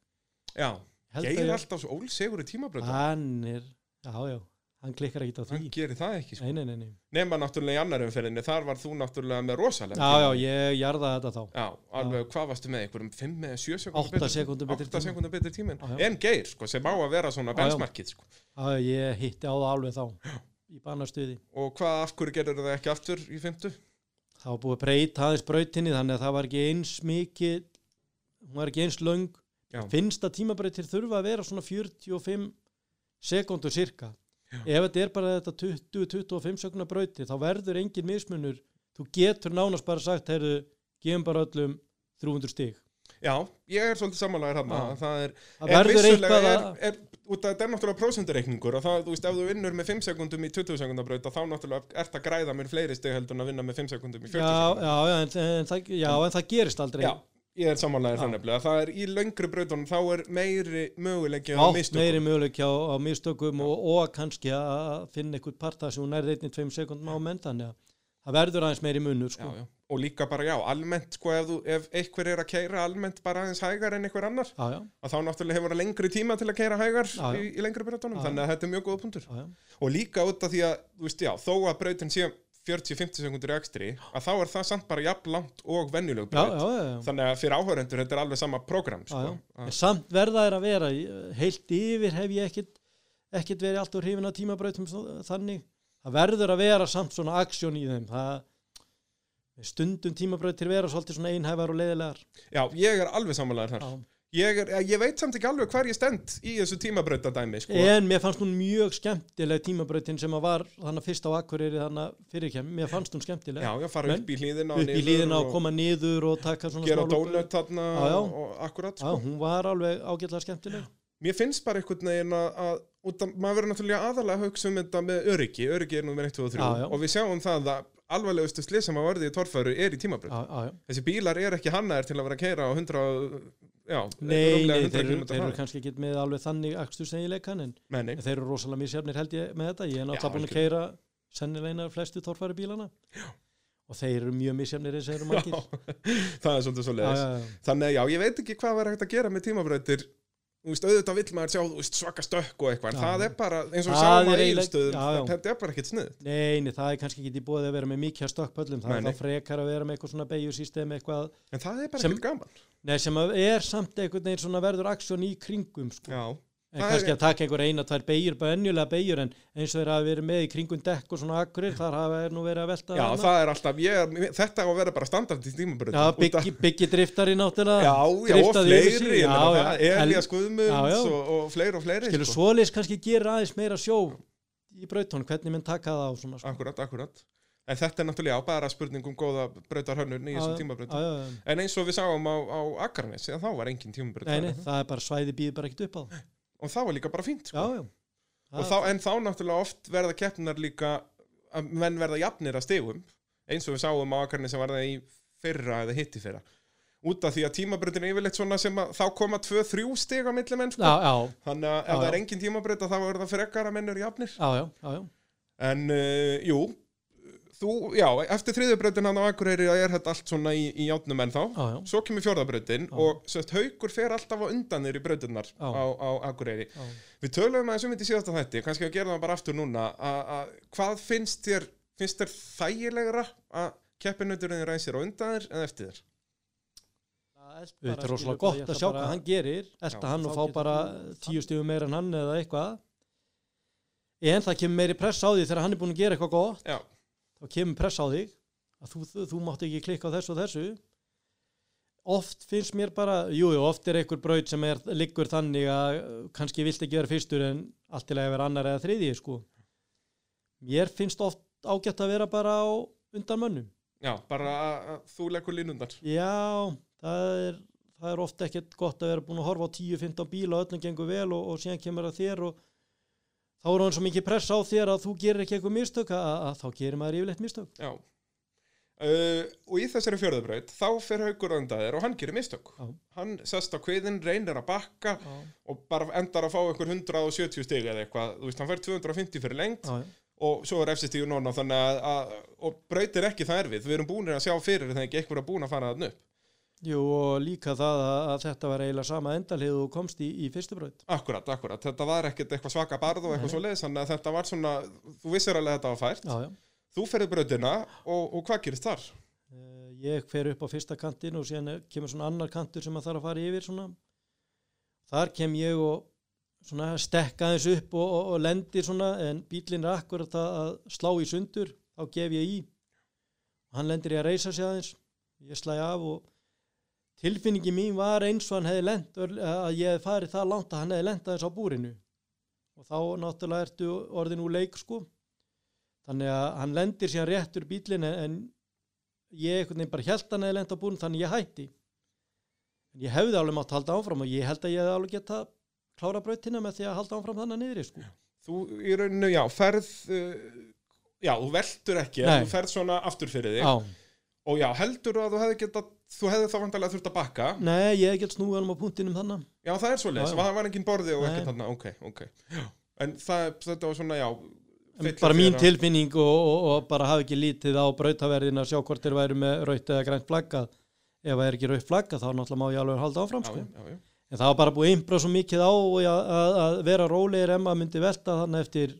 já,
held
Geir er
að ég-
alltaf svo ólsegur í tímabröndin
hann er, já, já, hann klikkar ekkert á
hann
því
gerir það ekki, sko.
nei, nei, nei, nei.
nema náttúrulega í annar umferðinni þar var þú náttúrulega með rosalega
já, já,
tíma.
ég jarða þetta þá
Já, alveg, hvað varstu með, einhverjum 5 eða 7 sekundar
Átta sekúndum betri
8
tíma.
sekundar betri tímin
Já, já.
en Geir, sko, sem á að vera svona
Já, já.
bensmarkið sko.
já, ég hitti á það alveg þá í banarstuði
og hvað, af hverju gerir það ekki aftur í 50?
það var búið að breyta aðeins brautinni þannig að það var ekki eins mikið hún var ekki eins löng
Já.
finnst að tímabrautir þurfa að vera svona 45 sekundur cirka
Já.
ef þetta er bara þetta 20-25 sekundar brauti þá verður engin mismunur þú getur nánast bara sagt heyrðu, gefum bara öllum 300 stig
Já, ég er svolítið sammálaður hann
Já.
það er
það
En
verður
vissulega
eitthvað
er,
að
er, út af þetta er náttúrulega prósendureikningur og það, þú veist, ef þú vinnur með 5 sekundum í 20 sekundabraut þá náttúrulega ert að græða mér fleiri steg heldur en að vinna með 5 sekundum í 40
já,
sekundum.
já, já, en, en, það, já, en það gerist aldrei
Já, ég er samanlega
Já.
það nefnilega. Það er í löngri brautunum, þá er meiri möguleiki á
átt meiri
mistökum.
möguleik á, á mistökum og, og kannski að finna einhvern parta sem hún nærði einnig tveim sekundum á mendan já. það verður aðeins meiri munur
Já,
sko. já,
já. Og líka bara, já, almennt, sko, ef, þú, ef einhver er að keira almennt bara aðeins hægar en einhver annar,
já, já,
að þá náttúrulega hefur það lengri tíma til að keira hægar
Já, já.
Í, í lengri brautunum,
Já, já.
þannig að þetta er mjög góða punktur.
já,
og líka út af því að, þú veist, já, þó að brautin sé 40-50 sekundur í ekstri að þá er það samt bara jafn langt og venjuleg
já,
braut,
já, já, já.
þannig að fyrir áhörendur þetta er alveg sama program,
Já,
sko
já. En samt verða er að vera í- heilt yfir hef ég ekkit, ekkit verið allt úr hrifin á tímabrautum svo- þannig það verður að vera samt svona aksjón í þeim það stundum tímabrautir vera svolítið svona einhæfar og leiðilegar
já. ég er alveg samanlegaður þar
Já.
ég, er, eh, ég veit samt ekki alveg hvar ég stend í þessu tímabrautadæmi, sko
En mér fannst hún mjög skemmtileg tímabrautin sem að var þannig fyrst á Akureyri þannig fyrirkjæm, mér fannst hún skemmtileg
já, já, fara
Men-
upp í hlýðina
upp í hlýðina og koma niður og taka svona
gera
smá lúku.
dónut þarna
Já, já.
og, og akkurat,
Já,
sko
hún var alveg ágætlega skemmtileg
mér finnst bara einhvern veginn að, að út að maður verður náttúrulega aðalega að hugsa um þetta með öryggi, öryggi er nummer 1, 2 og 3
Já, já.
og við sjáum það að alvarlegustu slið sem að varði í torfæru er í tímabraut
já, já, já.
þessi bílar er ekki hannaðir til að vera að keira á 100, já,
Nei,
rúmlega 100
nei, þeir, eru-
km
þeir eru
hraða.
kannski ekki með alveg þannig akstursegjuleikan en
Nei, [laughs] nei,
en þeir eru rosalega misjafnir held ég með þetta ég er
Já,
náttúrulega búin að keira sennilegna flestu torfæri bílana og þeir eru mjög misjafnir eins og þeir
[laughs]
eru margir
það er svolítið svo
Já,
leiðis
já, já.
þannig að já, ég veit ekki hvað verður hægt að gera með tímabrautir Þú veist, auðvitað vill maður sjá þú veist, svaka stökk og eitthvað, en
Já.
það er bara eins og við
Það
sáum
er
á
eiginlega-
eilstöðum,
já, já.
þetta er bara ekkert snið
Nei, nei, það er kannski ekki í bóði að vera með mikið að stökkpöllum, það
Nei,
er
nei.
það frekar að vera með eitthvað svona beigjusýstem eitthvað,
en það er bara
Sem-
ekkert gaman
nei, sem að er samt einhvern veginn svona verður aksjón í kringum sko.
já,
en
Það
kannski
er-
að taka einhver eina, tvær beigjur bara ennjulega beigjur en eins og þeir hafa verið með í kringum dekk og svona akkurir, þar hafa er nú verið að velta
já
þarna.
það er alltaf ég, er- þetta á að vera bara standard í tímabrautir
Já,
Út af-
byggi, byggi driftari náttúrulega
já, já, og
driftaði yfir sig,
fleiri
já, já,
Elías
Já, já.
Guðmunds og, og fleiri og fleiri sko.
skilur svoleiðis kannski gera aðeins meira sjó í brautónu, hvernig menn taka það á svona sko.
akkurat, akkurat en þetta er náttúrulega já, bara spurning um góða brautarhönnun í þessum
Já,
tímabrautum
já, já, já.
En eins og við sáum á, á Akarnes, þá var engin tímabröð
Nei, nei, það er bara svæði býður bara ekkert upp á það
og það var líka bara fínt sko.
Já, já
Og þá, en þá náttúrulega oft verða keppnar líka að menn verða jafnir að stegum eins og við sáum á Akarnes sem var það í fyrra eða hitti fyrra út af því að tímabröðin er yfirleitt svona sem að þá koma 2-3 steg á milli menn sko.
Já, já,
þannig að ef
Já,
það
já.
er engin tímabröð þá er það frekar að menn eru jafnir
já, já, já, já.
en uh, jú þú, já, eftir þriðubröðin hann á Akureyri er þetta allt svona í, í játnum en þá
já, já.
Svo kemur fjórðabrautin og sérst, haukur fer alltaf á undanir í brautinnar
Já.
á, á Akureyri.
Já.
Við töluðum aðeins um þetta í síðasta þætti, kannski að gera það bara aftur núna, að- að hvað finnst þér, finnst þér þægilegra að keppinuturinn ræsir á undanir en eftir þér?
Þetta er rosalega gott að sjá hvað hann gerir elta
Já,
hann og
þá
fá
getur
bara
þú-
tíu stífum meira en hann eða eitthvað en það kemur meiri press á því þegar hann er búin að gera eitthvað gott
Já,
þá kemur press á þig að þú, þú, þú mátt ekki klikka á þessu og þessu oft finnst mér bara jú, jú, oft er einhver braut sem er, liggur þannig að uh, kannski vilt ekki vera fyrstur en allt til að vera annar eða þriði sko. mér finnst oft ágætt að vera bara á undan mönnum
já bara að, að þú leggur línundar.
já, það er það er oft ekkert gott að vera búin að horfa á 10-15 bíla og öllum gengur vel og, og síðan kemur að þér og þá er hann svo mikið press á þér að þú gerir ekki eitthvað mistök að, að, að þá gerir maður yfirleitt mistök
Já. Uh, og í þessari fjórðabraut, þá fer haukur á undanir og hann gerir mistök.
Já.
Hann sest á kviðin, reynir að bakka
já,
og bara endar að fá einhver 170 stig eða eitthvað. Þú veist, hann fer 250 fyrir lengt.
já, já.
og svo er FC10 núna þannig að, að og brautir ekki það erfið, við erum búinir að sjá fyrir þegar ekki eitthvað er búin að fara þann upp
Jú, og líka það að, að þetta var eiginlega sama endalið og þú komst í, í fyrstu braut.
akkurat, akkurat, þetta var ekkert eitthvað svaka barð og eitthvað
Nei.
svo leiðis, þannig að þetta var svona þú vissir alveg að þetta var fært,
Já, já.
þú ferði brautina og, og hvað gerist þar?
Eh, Ég fer upp á fyrsta kantin og síðan er- kemur svona annar kantur sem maður þarf að fara yfir svona. Þar kem ég og svona stekka aðeins upp og, og, og lendir svona en bílinn er akkurat að, að slá í sundur, þá gef ég í. Hann lendir í að reysa sig aðeins, ég slæ af og tilfinningi mín var eins og hann hefði lent, að ég hefði farið það langt að hann hefði lent aðeins á búrinu. Og þá náttúrulega ertu orðin úr leik sko. Þannig að hann lendir síðan réttur bílinn en, en ég einhvern veginn bara held hann að ég lenda búin þannig ég hætti en ég hefði alveg mátt halda áfram og ég held að ég hefði alveg geta klára brautina með því að halda áfram þannig niðri sko.
þú í rauninu, já, ferð uh, já, þú veltur ekki
Nei.
en þú ferð svona aftur fyrir þig
Já,
og já, heldur að þú hefði geta þú hefði þá vantarlega þurft að bakka
nei, ég hef gett snúið alveg á punktinum þannig
já, það er svo leiðis,
Mm. Já, já.
það var engin borði og
Nei.
ekkert þarna, ok, ok Já. en það, þetta var svona, já
En
fyllir
bara mín
þér að-
tilfinning og, og, og bara hafi ekki lítið á brautaverðin að sjá hvort þeir væri með raut eða grænt flagga ef það er ekki raut flagga þá náttúrulega má ég alveg halda áfram
já,
sko.
já, já, já.
en það var bara búið að imbra svo mikið á og ég að, að, að vera rólegir emma myndi velta þannig eftir,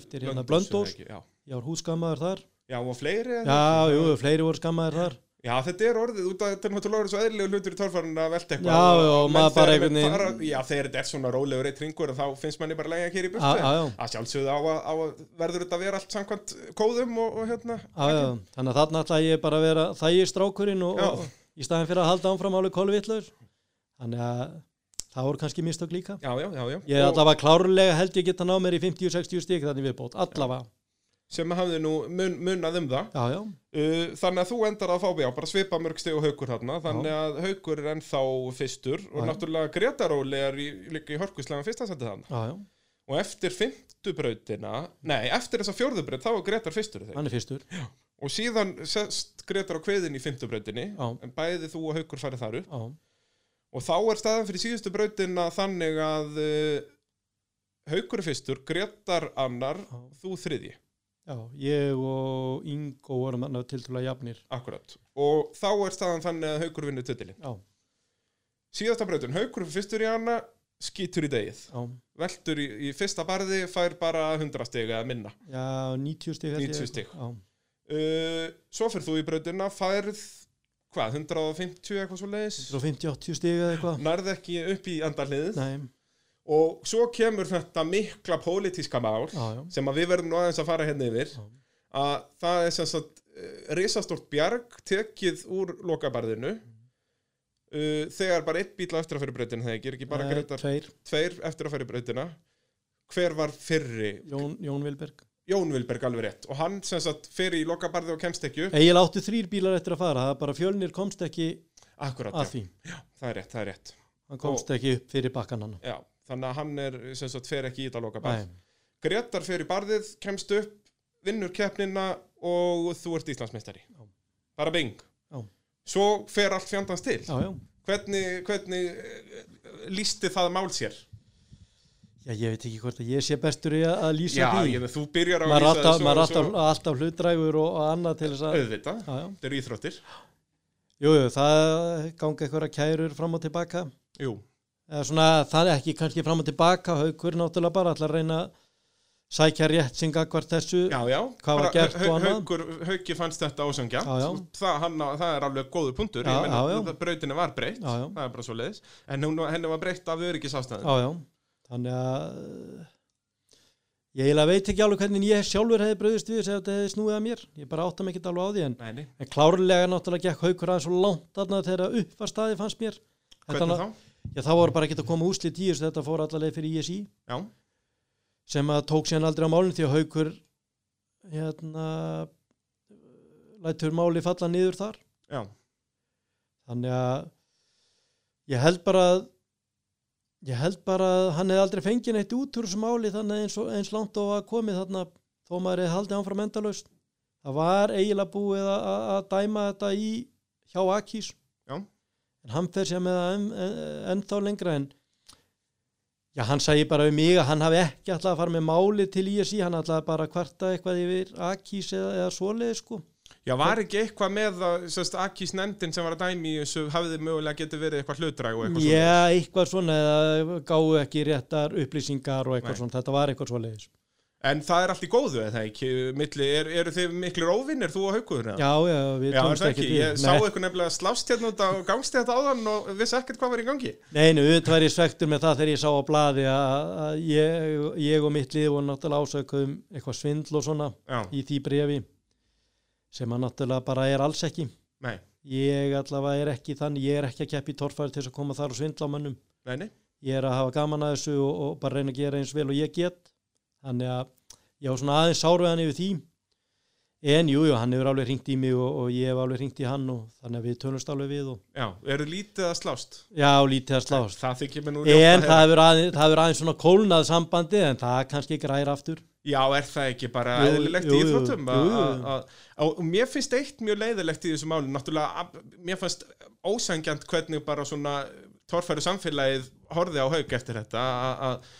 eftir hérna
Blönduós, er
blöndós
það ekki? já.
ég var húskammaður þar
já, og fleiri eða
Já,
ekki?
jú, fleiri voru skammaðir þar
já, þetta er orðið, út af þetta er náttúrulega orðið svo eðlilega hlutur í torfarinn að velta eitthvað
Já,
og-
já,
og menn
maður bara
þegar
einhvern
menn
veginn-
fara- já, þegar þetta er svona rólegur eitt ringur þá finnst manni bara lægja hér í
Já,
burtu
já, já.
að sjálfsögðu á að, á að verður þetta að vera allt samkvæmt kóðum og, og hérna
Já, já, þannig að þarna ætla ég bara að vera þægir strákurinn og,
Já.
og í staðin fyrir að halda áfram alveg kolvitlaur þannig að það voru kannski mistök líka
já, já, já, já.
Ég er
Og
allavega klárlega held ég geta ná mér í 50-60 stík þannig viðbót, allavega
sem hafði nú mun, munnað um það
Já, já,
uh, þannig að þú endar að fá já, bara svipa mörg steg og haukur þarna þannig að haukur er ennþá fyrstur og
Já.
náttúrulega Gretaróli er í, líka í hörkuslega fyrsta setið þarna
já, já,
og eftir fymtubrautina nei, eftir þessa fjórðubraut þá er Gretar fyrstur í þeim
hann er fyrstur Já,
og síðan sest Gretar á kveðin í fymtubrautinni
já,
en bæði þú og Haukur farið þar upp
já,
og þá er staðan fyrir síðustu brautina þannig eh, að uh, Haukur er fyrstur, Gretar annar
Já.
þú þriðji
Já, ég og Ingo vorum þarna tiltrúlega jafnir.
akkurat. Og þá er staðan þannig að haukur vinnur titilin.
Já,
Síðasta breytun, haukur fyrstur í hana, skýtur í degið.
já,
Veltur í, í fyrsta barði, fær bara 100 stig eða minna.
já 90 stig. held ég.
90 stig.
Já,
Uh, svo fyrir þú í breytuna, færð, hvað, 150 eitthvað svo leiðis?
150-80 stig eða eitthvað.
Nærð ekki upp í endarliðið.
Nei,
Og svo kemur þetta mikla pólitíska mál
já, já.
sem að við verðum nú aðeins að fara hérna yfir
Já.
að það er sem sagt eh, risastort bjarg tekið úr lokabarðinu uh, þegar bara einn bíl á eftir að fyrir breytina þegar ekki, er ekki bara
Nei,
greitar
Tveir,
tveir eftir að fyrir breytina hver var fyrri?
Jón, Jón Vilberg.
Jón Vilberg alveg rétt og hann sem sagt fyrir í lokabarði og kemst ekki upp
Egil átti þrýr bílar eftir að fara, það er bara fjölnir komst ekki
akkurat,
að
já,
því.
það er rétt, það er rétt
Hann komst ekki upp fyrir bakkan hann.
já, þannig að hann er sem sagt fyrir ekki í þetta lokabarð
Nei,
Gretar fyrir barðið, kemst upp, vinnur keppnina og þú ert Íslandsmeistari.
Já.
Bara bing.
Já.
Svo fer allt fjandans til.
já, já.
Hvernig, hvernig eh, lísti það mál sér?
Já, ég veit ekki hvort að ég sé bestur í að að lýsa
Já,
því.
ég, þú byrjar á
maður
lýsa
alltaf,
þessu
maður
og
alltaf, alltaf hlutdrægur og, og annað til þess að
auðvitað.
já, já.
Þetta eru íþróttir.
Jú, jú, það gangi eitthvað kærur fram og tilbaka
Jú,
eða svona það er ekki kannski fram og tilbaka haukur náttúrulega bara ætla að reyna að sækja rétt sem gagvart þessu
já, já.
Hvað var
Bara
gert
Hau-
og annað?
Haukur, hauki fannst þetta ósangja.
Já, já.
Það, hann, á- það er alveg góður punktur.
Já,
Ég meina,
já, já.
það- Brautinni var breytt.
Já, já.
Það er bara svo leiðis. En hún, henni var breytt af öryggisástæðin.
já, já. þannig að ég eiginlega veit ekki alveg hvernig ég sjálfur hefði bröðist við þess að þetta hefði snúið að mér ég bara átta mig ekki alveg á því en,
Nei, nei.
en klárlega náttúrulega gekk haukur aðeins svo langt þarna þegar upp var staði fannst mér
Hvernig þá?
Já, það voru bara ekki að koma úslit í þessu þetta fór allaveg fyrir ISI
Já,
sem að tók síðan aldrei á málinu því að haukur hérna lætur máli falla niður þar
já.
þannig að ég held bara að ég held bara að hann hefði aldrei fengið neitt út úr þessu máli þannig að eins, og, eins langt og að komið þarna þó maður hefði haldið hann frá mendalaust það var eiginlega búið að, að, að dæma þetta í hjá Akís
Já.
en hann fer sér með það en, en, ennþá lengra en já hann sagði bara við mig að hann hafi ekki alltaf að fara með máli til ISI hann alltaf bara að kvarta eitthvað yfir Akís eða, eða svoleiði sko
Já, var ekki eitthvað með að sérst, Akis nefndin sem var að dæmi í þessu hafði mögulega getið verið eitthvað hlutræg og eitthvað svona.
Já, eitthvað svona eða gáu ekki réttar upplýsingar og eitthvað
Nei.
svona, þetta var eitthvað svo leiðis
En það er allt í góðu, eða ekki? Milli, er, eru þið miklir óvinnir, þú og haukuður?
Já, já, við
Já, er
tónst
það
ekki
ekki. Ég sá eitthvað nefnilega slást hérna út á gangst þetta áðan og vissi ekkert hvað var í gangi.
Nei, nei, auðvitað var ég svektur með það þegar ég sá á blaði að, að ég, ég og mitt lið voru náttúrulega ásökuð um eitthvað svindl og svona
Já,
í því brefi sem að náttúrulega bara er alls ekki
nei,
ég allavega er ekki þannig, ég er ekki að keppi í torfæri til þess að koma þar og svindla á mönnum
nei, nei.
ég er að hafa gaman að þessu og, og bara reyna að gera eins vel og ég get þannig að ég á svona aðeins sárveðan yfir því en jú, jú, hann hefur alveg hringt í mig og, og ég hef alveg hringt í hann og þannig að við tölumst alveg við og
Já, eru lítið að slást?
já, lítið að slást
Það þykir mér nú ljótt
en
að
það
heyra.
hefur, aðeins, það hefur aðeins svona kólnað sambandi en það kannski græðir aftur
Já, er það ekki bara
Jú,
eðlilegt í
jú, jú,
íþróttum?
jú, jú.
að- að- að- Og mér finnst eitt mjög leiðilegt í þessu máli, náttúrulega, að- mér fannst ósangjant hvernig bara svona torfæru samfélagið horfið á haug eftir þetta, að- að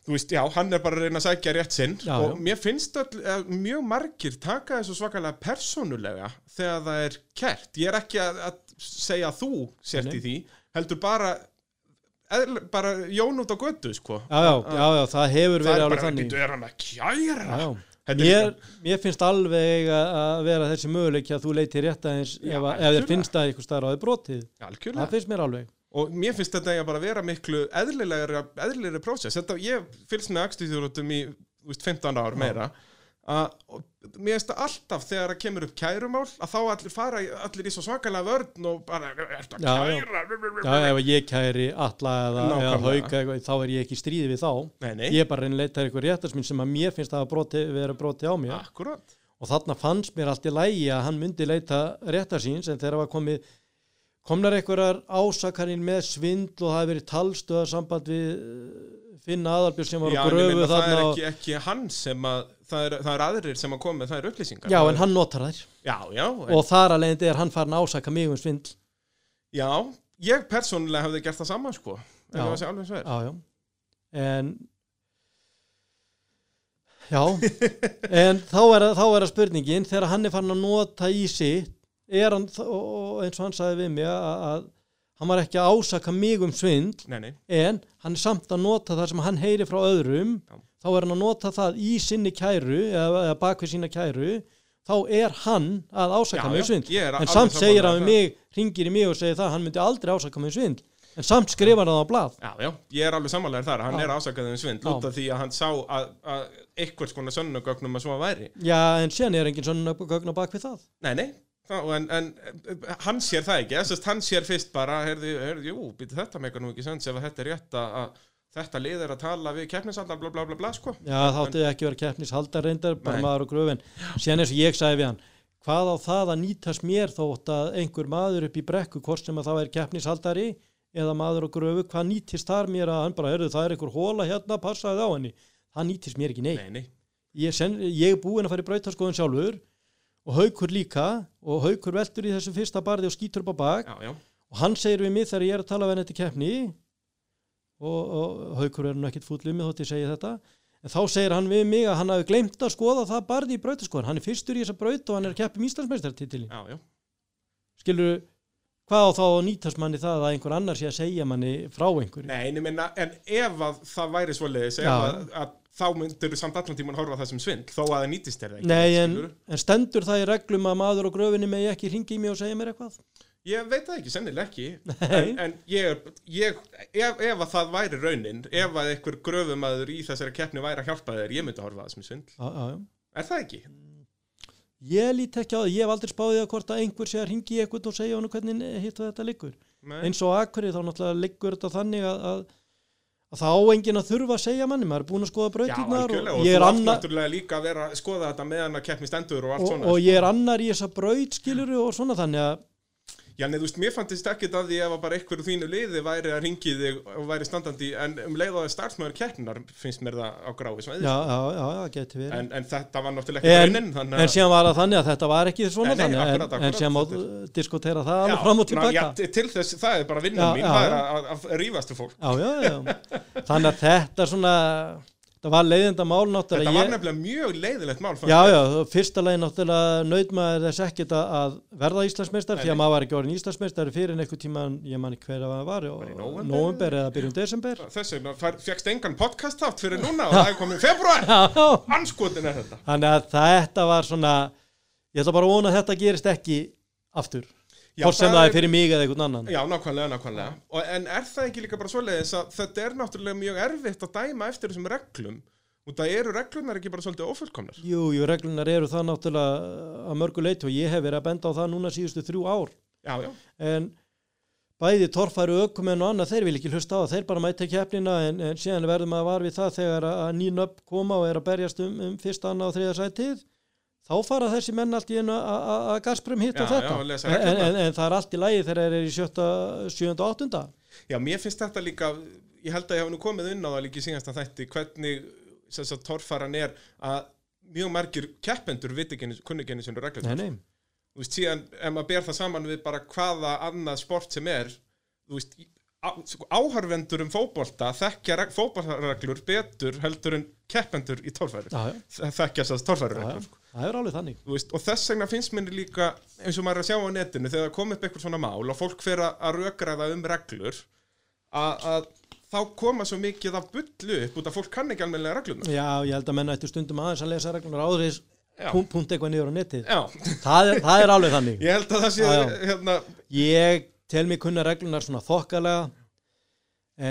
Þú veist, já, hann er bara að reyna að sækja rétt sinn
Já,
og
já.
mér finnst all, eh, mjög margir taka þessu svakalega persónulega þegar það er kert. Ég er ekki að, að segja að þú sért
Nei.
í því, heldur bara, eðl, bara Jón út á götu, sko.
já, já, já, já, það hefur
það
verið
er
alveg
bara,
þannig
getur, er hann að kæra?
já, já.
Þetta er
Mér, mér finnst alveg að- að vera þessi möguleiki að þú leitir rétt aðeins
Já,
ef, að- ef þér
algjörlega.
finnst að ykkur starf á því brotið það
Algjörlega.
finnst mér alveg
Og mér finnst þetta eiga bara að vera miklu eðlilegri, eðlilegri prósess. Þetta, ég fylgst með akstuðjóðurum í þú veist, 15 ár meira. Að, og mér finnst það alltaf þegar það kemur upp kærumál að þá allir fara í- allir í svo svakalega vörn og bara, er þetta
Já, já.
kæra?
Já, ef ég kæri alla eða, eða
Nákvæmlega.
hauka eitthvað, þá er ég ekki í stríði við þá.
Nei, nei,
Ég er bara að reyna að leita eitthvað réttarsminn sem að mér finnst að hafa broti, vera broti á mér.
akkurat.
Og þarna fannst mér allt í lægi að hann myndi leita réttarsins en þegar var komið, komnar einhverjar ásakarinn með svindl og það hefði verið talstöða samband við eh, Finn Aðalbjörn sem var
Já,
á
en ég
gröfu
meina, það er
þarna.
ekki, ekki hann sem að, það er, það er aðrir sem að koma með þær
og,
upplýsingar.
já, en hann notar þær.
Já, já, en-
Og þar að leiðandi er hann farin að ásaka mig um svindl.
já, ég persónulega hefði gert það saman, sko.
Já.
Já. Það sé alveg svo er.
Já, já. En Já, en þá er, þá er að spurningin þegar hann er farin að nota í sitt er hann, þ- og og eins og hann sagði við mig að, að hann var ekki að ásaka mig um svindl
Nei, nei,
en hann er samt að nota það sem hann heyri frá öðrum
Já.
þá er hann að nota það í sinni kæru eða, eða bakvið sína kæru þá er hann að ásaka
Já,
mig
já,
um svindl
ég er
en
alveg
samt segir
sammála
hann við
það.
mig, ringir í mig og segir það að hann myndi aldrei ásaka mig um svindl en samt skrifar hann það á blað
já, já, ég er alveg samanlegar þar, hann
Já.
er ásakaðið um svindl
Já.
út af því að hann sá að, að eitthvað skona sönnugögnum að svo væri.
Já, en síðan er engin svona gögn á bakvið það
Nei, nei, þá, en, en eh, hann sér það ekki, þess að hann sér fyrst bara, heyrðu, heyrðu, jú, býtu þetta meikar nú ekki sens ef að þetta er rétt að, að þetta lið er að tala við keppnisallar, bla bla bla bla, sko.
Já, þá átti ekki að vera keppnishaldar reyndar, bara
Nei.
maður og gröfin. Sérna eins og ég sagði við hann, hvað á það að nýtast mér þótt að einhver maður upp í brekku, hvort sem að það er keppnishaldari eða maður og gröfu, hvað nýtist þar mér að hann bara, heyrðu, það er einhver hóla hérna, passaði á henni. Það nýtist mér ekki neitt.
Nei, nei,
Ég, sen, ég er búinn að fara í brautaskoðun sjálfur og haukur líka og haukur veltur í þessu fyrsta barði og skýtur upp á bak
já, já,
og hann segir við mig þegar ég er að tala við hann eftir keppni og, og haukur er nú ekkit fúllum með þótt ég segi þetta en þá segir hann við mig að hann hafi glemt að skoða það barði í brautaskoðan, hann er fyrstur í þessa braut og hann er að keppi um Íslandsmeistartitilin
já, já.
skilur hvað á þá að nýtast manni það að einhver annar sé að segja manni frá einhverju
Nei, en, minna, en ef að það væri svoleiðis ef
Já.
að, að þá myndur þú samt allan tíman horfa á það sem svindl þó að það nýtist þér það ekki
Nei, en,
skilurðu?
en stendur það í reglum að maður á gröfinni megi ekki ringi í mig og segja mér eitthvað
Ég veit það ekki, sennilega ekki
Nei.
en, en ég, ég ef, ef að það væri raunin ef að einhver gröfumæður í þessari keppni væri að hjálpa þér, ég myndi horfa á það sem svindl
já, já, já.
Er það ekki?
Ég lít ekki á það, ég hef aldrei spáðið að hvort að einhver sé að ringi í eitthvað og segja hann hvernig hitt þetta liggur
Nei.
eins og akkurir þá náttúrulega liggur þetta þannig að, að, að það á enginn að þurfa að segja manni, maður er búin að skoða
Já,
brautirnar
algjörlega, og
og ég er
þú átt
annar
náttúrulega líka að vera að skoða þetta meðan að keppni stendur og allt
og,
svona sko.
og ég er annar í þessa braut skilur og svona þannig að
Já, nei, þú veist, mér fannst ekkert að því ef að bara einhver úr þínu liði væri að ringi þig og væri standandi, en um leið á að starfsmöður keppnar finnst mér það á gráfi svæði,
já, já, já, já, geti verið en,
en, en þetta var náttúrulega ekki raunin þannig
en síðan var það þannig að þetta var ekki svona
Nei, nei,
þannig
akkurat,
en,
akkurat,
en síðan má
þetta
diskutera það
Já,
alveg fram og
ná,
tilbaka
já,
já,
til- til þess, það er bara vinnan
Já,
mín
já,
það er
já.
að, að, að rífast við fólk
já, já, þannig að þetta svona þetta var leiðinda mál náttúrulega
þetta var
Ég-
nefnilega mjög leiðilegt mál fannst
Já,
mér.
já, fyrsta lagi náttúrulega naut maður þess ekkert að- að verða Íslandsmeistar því að
Nei.
maður var ekki orðin Íslandsmeistar fyrir en einhver tíma, ég man ekki hver að það var
í
og-
nóvember?
nóvember eða byrjum desember
þess vegna fær- fékkst engan podcast átt fyrir núna og það er komið februar
Já,
anskotin er þetta
þannig að þetta var svona ég ætla bara að vona að þetta gerist ekki aftur,
Já,
hvort sem
það
það er
er-
fyrir mig eða einhvern annan
já, nákvæmlega, nákvæmlega og, en er það ekki líka bara svoleiðis að þetta er náttúrulega mjög erfitt að dæma eftir þessum reglum og það eru reglunar ekki bara svolítið ófullkomnar
Jú, jú, reglunar eru það náttúrulega að mörgu leiti og ég hef verið að benda á það núna síðustu þrjú ár
já, já,
en bæði torfæru ökumenn og annað, þeir vil ekki hlusta á það, þeir bara mæta keppnina en, en síðan verðum að var við það þegar að að nýn upp koma og er að berjast um, um fyrsta, annað og þriða sætið þá fara þessi menn allt í einu að- að að Gazprom hitt
Já,
og
já,
þetta
og lesa
en, en,
reglurnar.
en, en það er allt í lagi þegar þeir eru í sjötta, sjönda og áttunda
Já, mér finnst þetta líka, ég held að ég hafi nú komið inn á það líka í síðasta þætti, hvernig þess að torfaran er að mjög margir keppendur viti ekki, einu- kunni ekki einu sinni reglum.
Nei, nei,
Þú veist, síðan, ef maður ber það saman við bara hvaða annað sport sem er, þú veist, í- á, sko, áhörvendur um fótbolta þekkja reg, fótboltareglur betur heldur en keppendur í torfæru.
já, já,
Þekkja þess að
já, já,
torfærureglur. sko.
það er sko. alveg þannig
Þú veist, og þess vegna finnst mér líka eins og maður er að sjá á netinu þegar það kom upp eitthvað svona mál og fólk fer að- að rökraða um reglur að, að þá koma svo mikið af bullu upp út að fólk kann ekki almennilega reglurna
Já, ég held að menna eftir stundum aðeins að lesa reglunar áðuris
Já.
punkt, punkt eitthvað niður á netið
Já,
það er, það er alveg
[laughs]
þannig
ég held að það sé
Já, já.
hérna,
Ég tel mig kunna reglunar svona þokkalega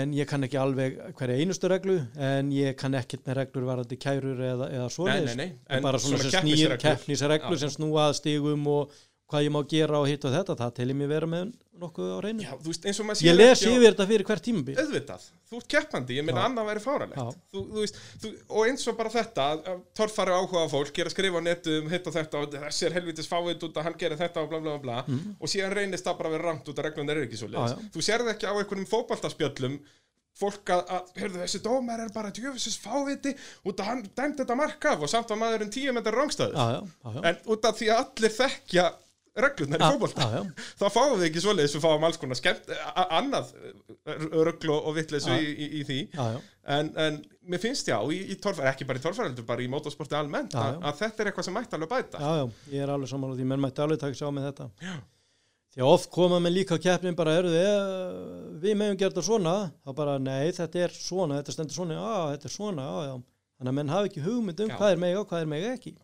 en ég kann ekki alveg hverja einustu reglu en ég kann ekkert með reglur varandi kærur eða, eða svoleiðis
Nei, nei, nei, en
en bara svona,
svona
sem snýr
keppnisreglur.
keppnisreglu
Já.
sem snúa að stigum og hvað ég má gera og hitt og þetta það tel ég mig vera með nokkuð á reynu
já, þú veist, eins og maður
ég les
ekki á-
yfir þetta fyrir hvert tímabil
auðvitað, þú ert keppandi, ég meina
Já.
annað væri
Já.
fáralegt þú, þú veist, þú, og eins og bara þetta að- að torfari áhuga fólk er að skrifa á netu um hitt og þetta og þessi er helvitis fáið út að hann gerir þetta og bla bla bla, bla. og síðan reynist það bara að vera rangt út að reglun er ekki svo
Mhm. Já, já.
þú sérð ekki á einhverjum fótbaltaspjöllum fólk að, að heyrðu, þessi dómar er bara djöfisins fáviti út að hann dæmt þetta mark af og samt var maðurinn 10 metrar rángstæður
Já, já, já, já.
en út af því að allir þekkja reglunar í fótbolta
já, já,
þá fáum við ekki svoleiðis, við fáum alls konar skemmt, a- a- annað rögglu og vitleysu
Já.
í, í, í því
já, já.
en, en mér finnst já, í, í torfæra, ekki bara í torfæra heldur, bara í motorsporti almennt,
Já,
að,
já.
að þetta er eitthvað sem mætti alveg bæta
Já, já, ég er alveg sammála því, menn mætti alveg taka sér á með þetta. Já. Því að oft koma menn líka á keppnin bara, eru þið, við meðum gert það svona, þá bara, nei, þetta er svona, þetta stendur svona, já, þetta er svona, já, já. Þannig að menn hafi ekki hugmynd um
Já.
hvað er mega og hvað er mega ekki.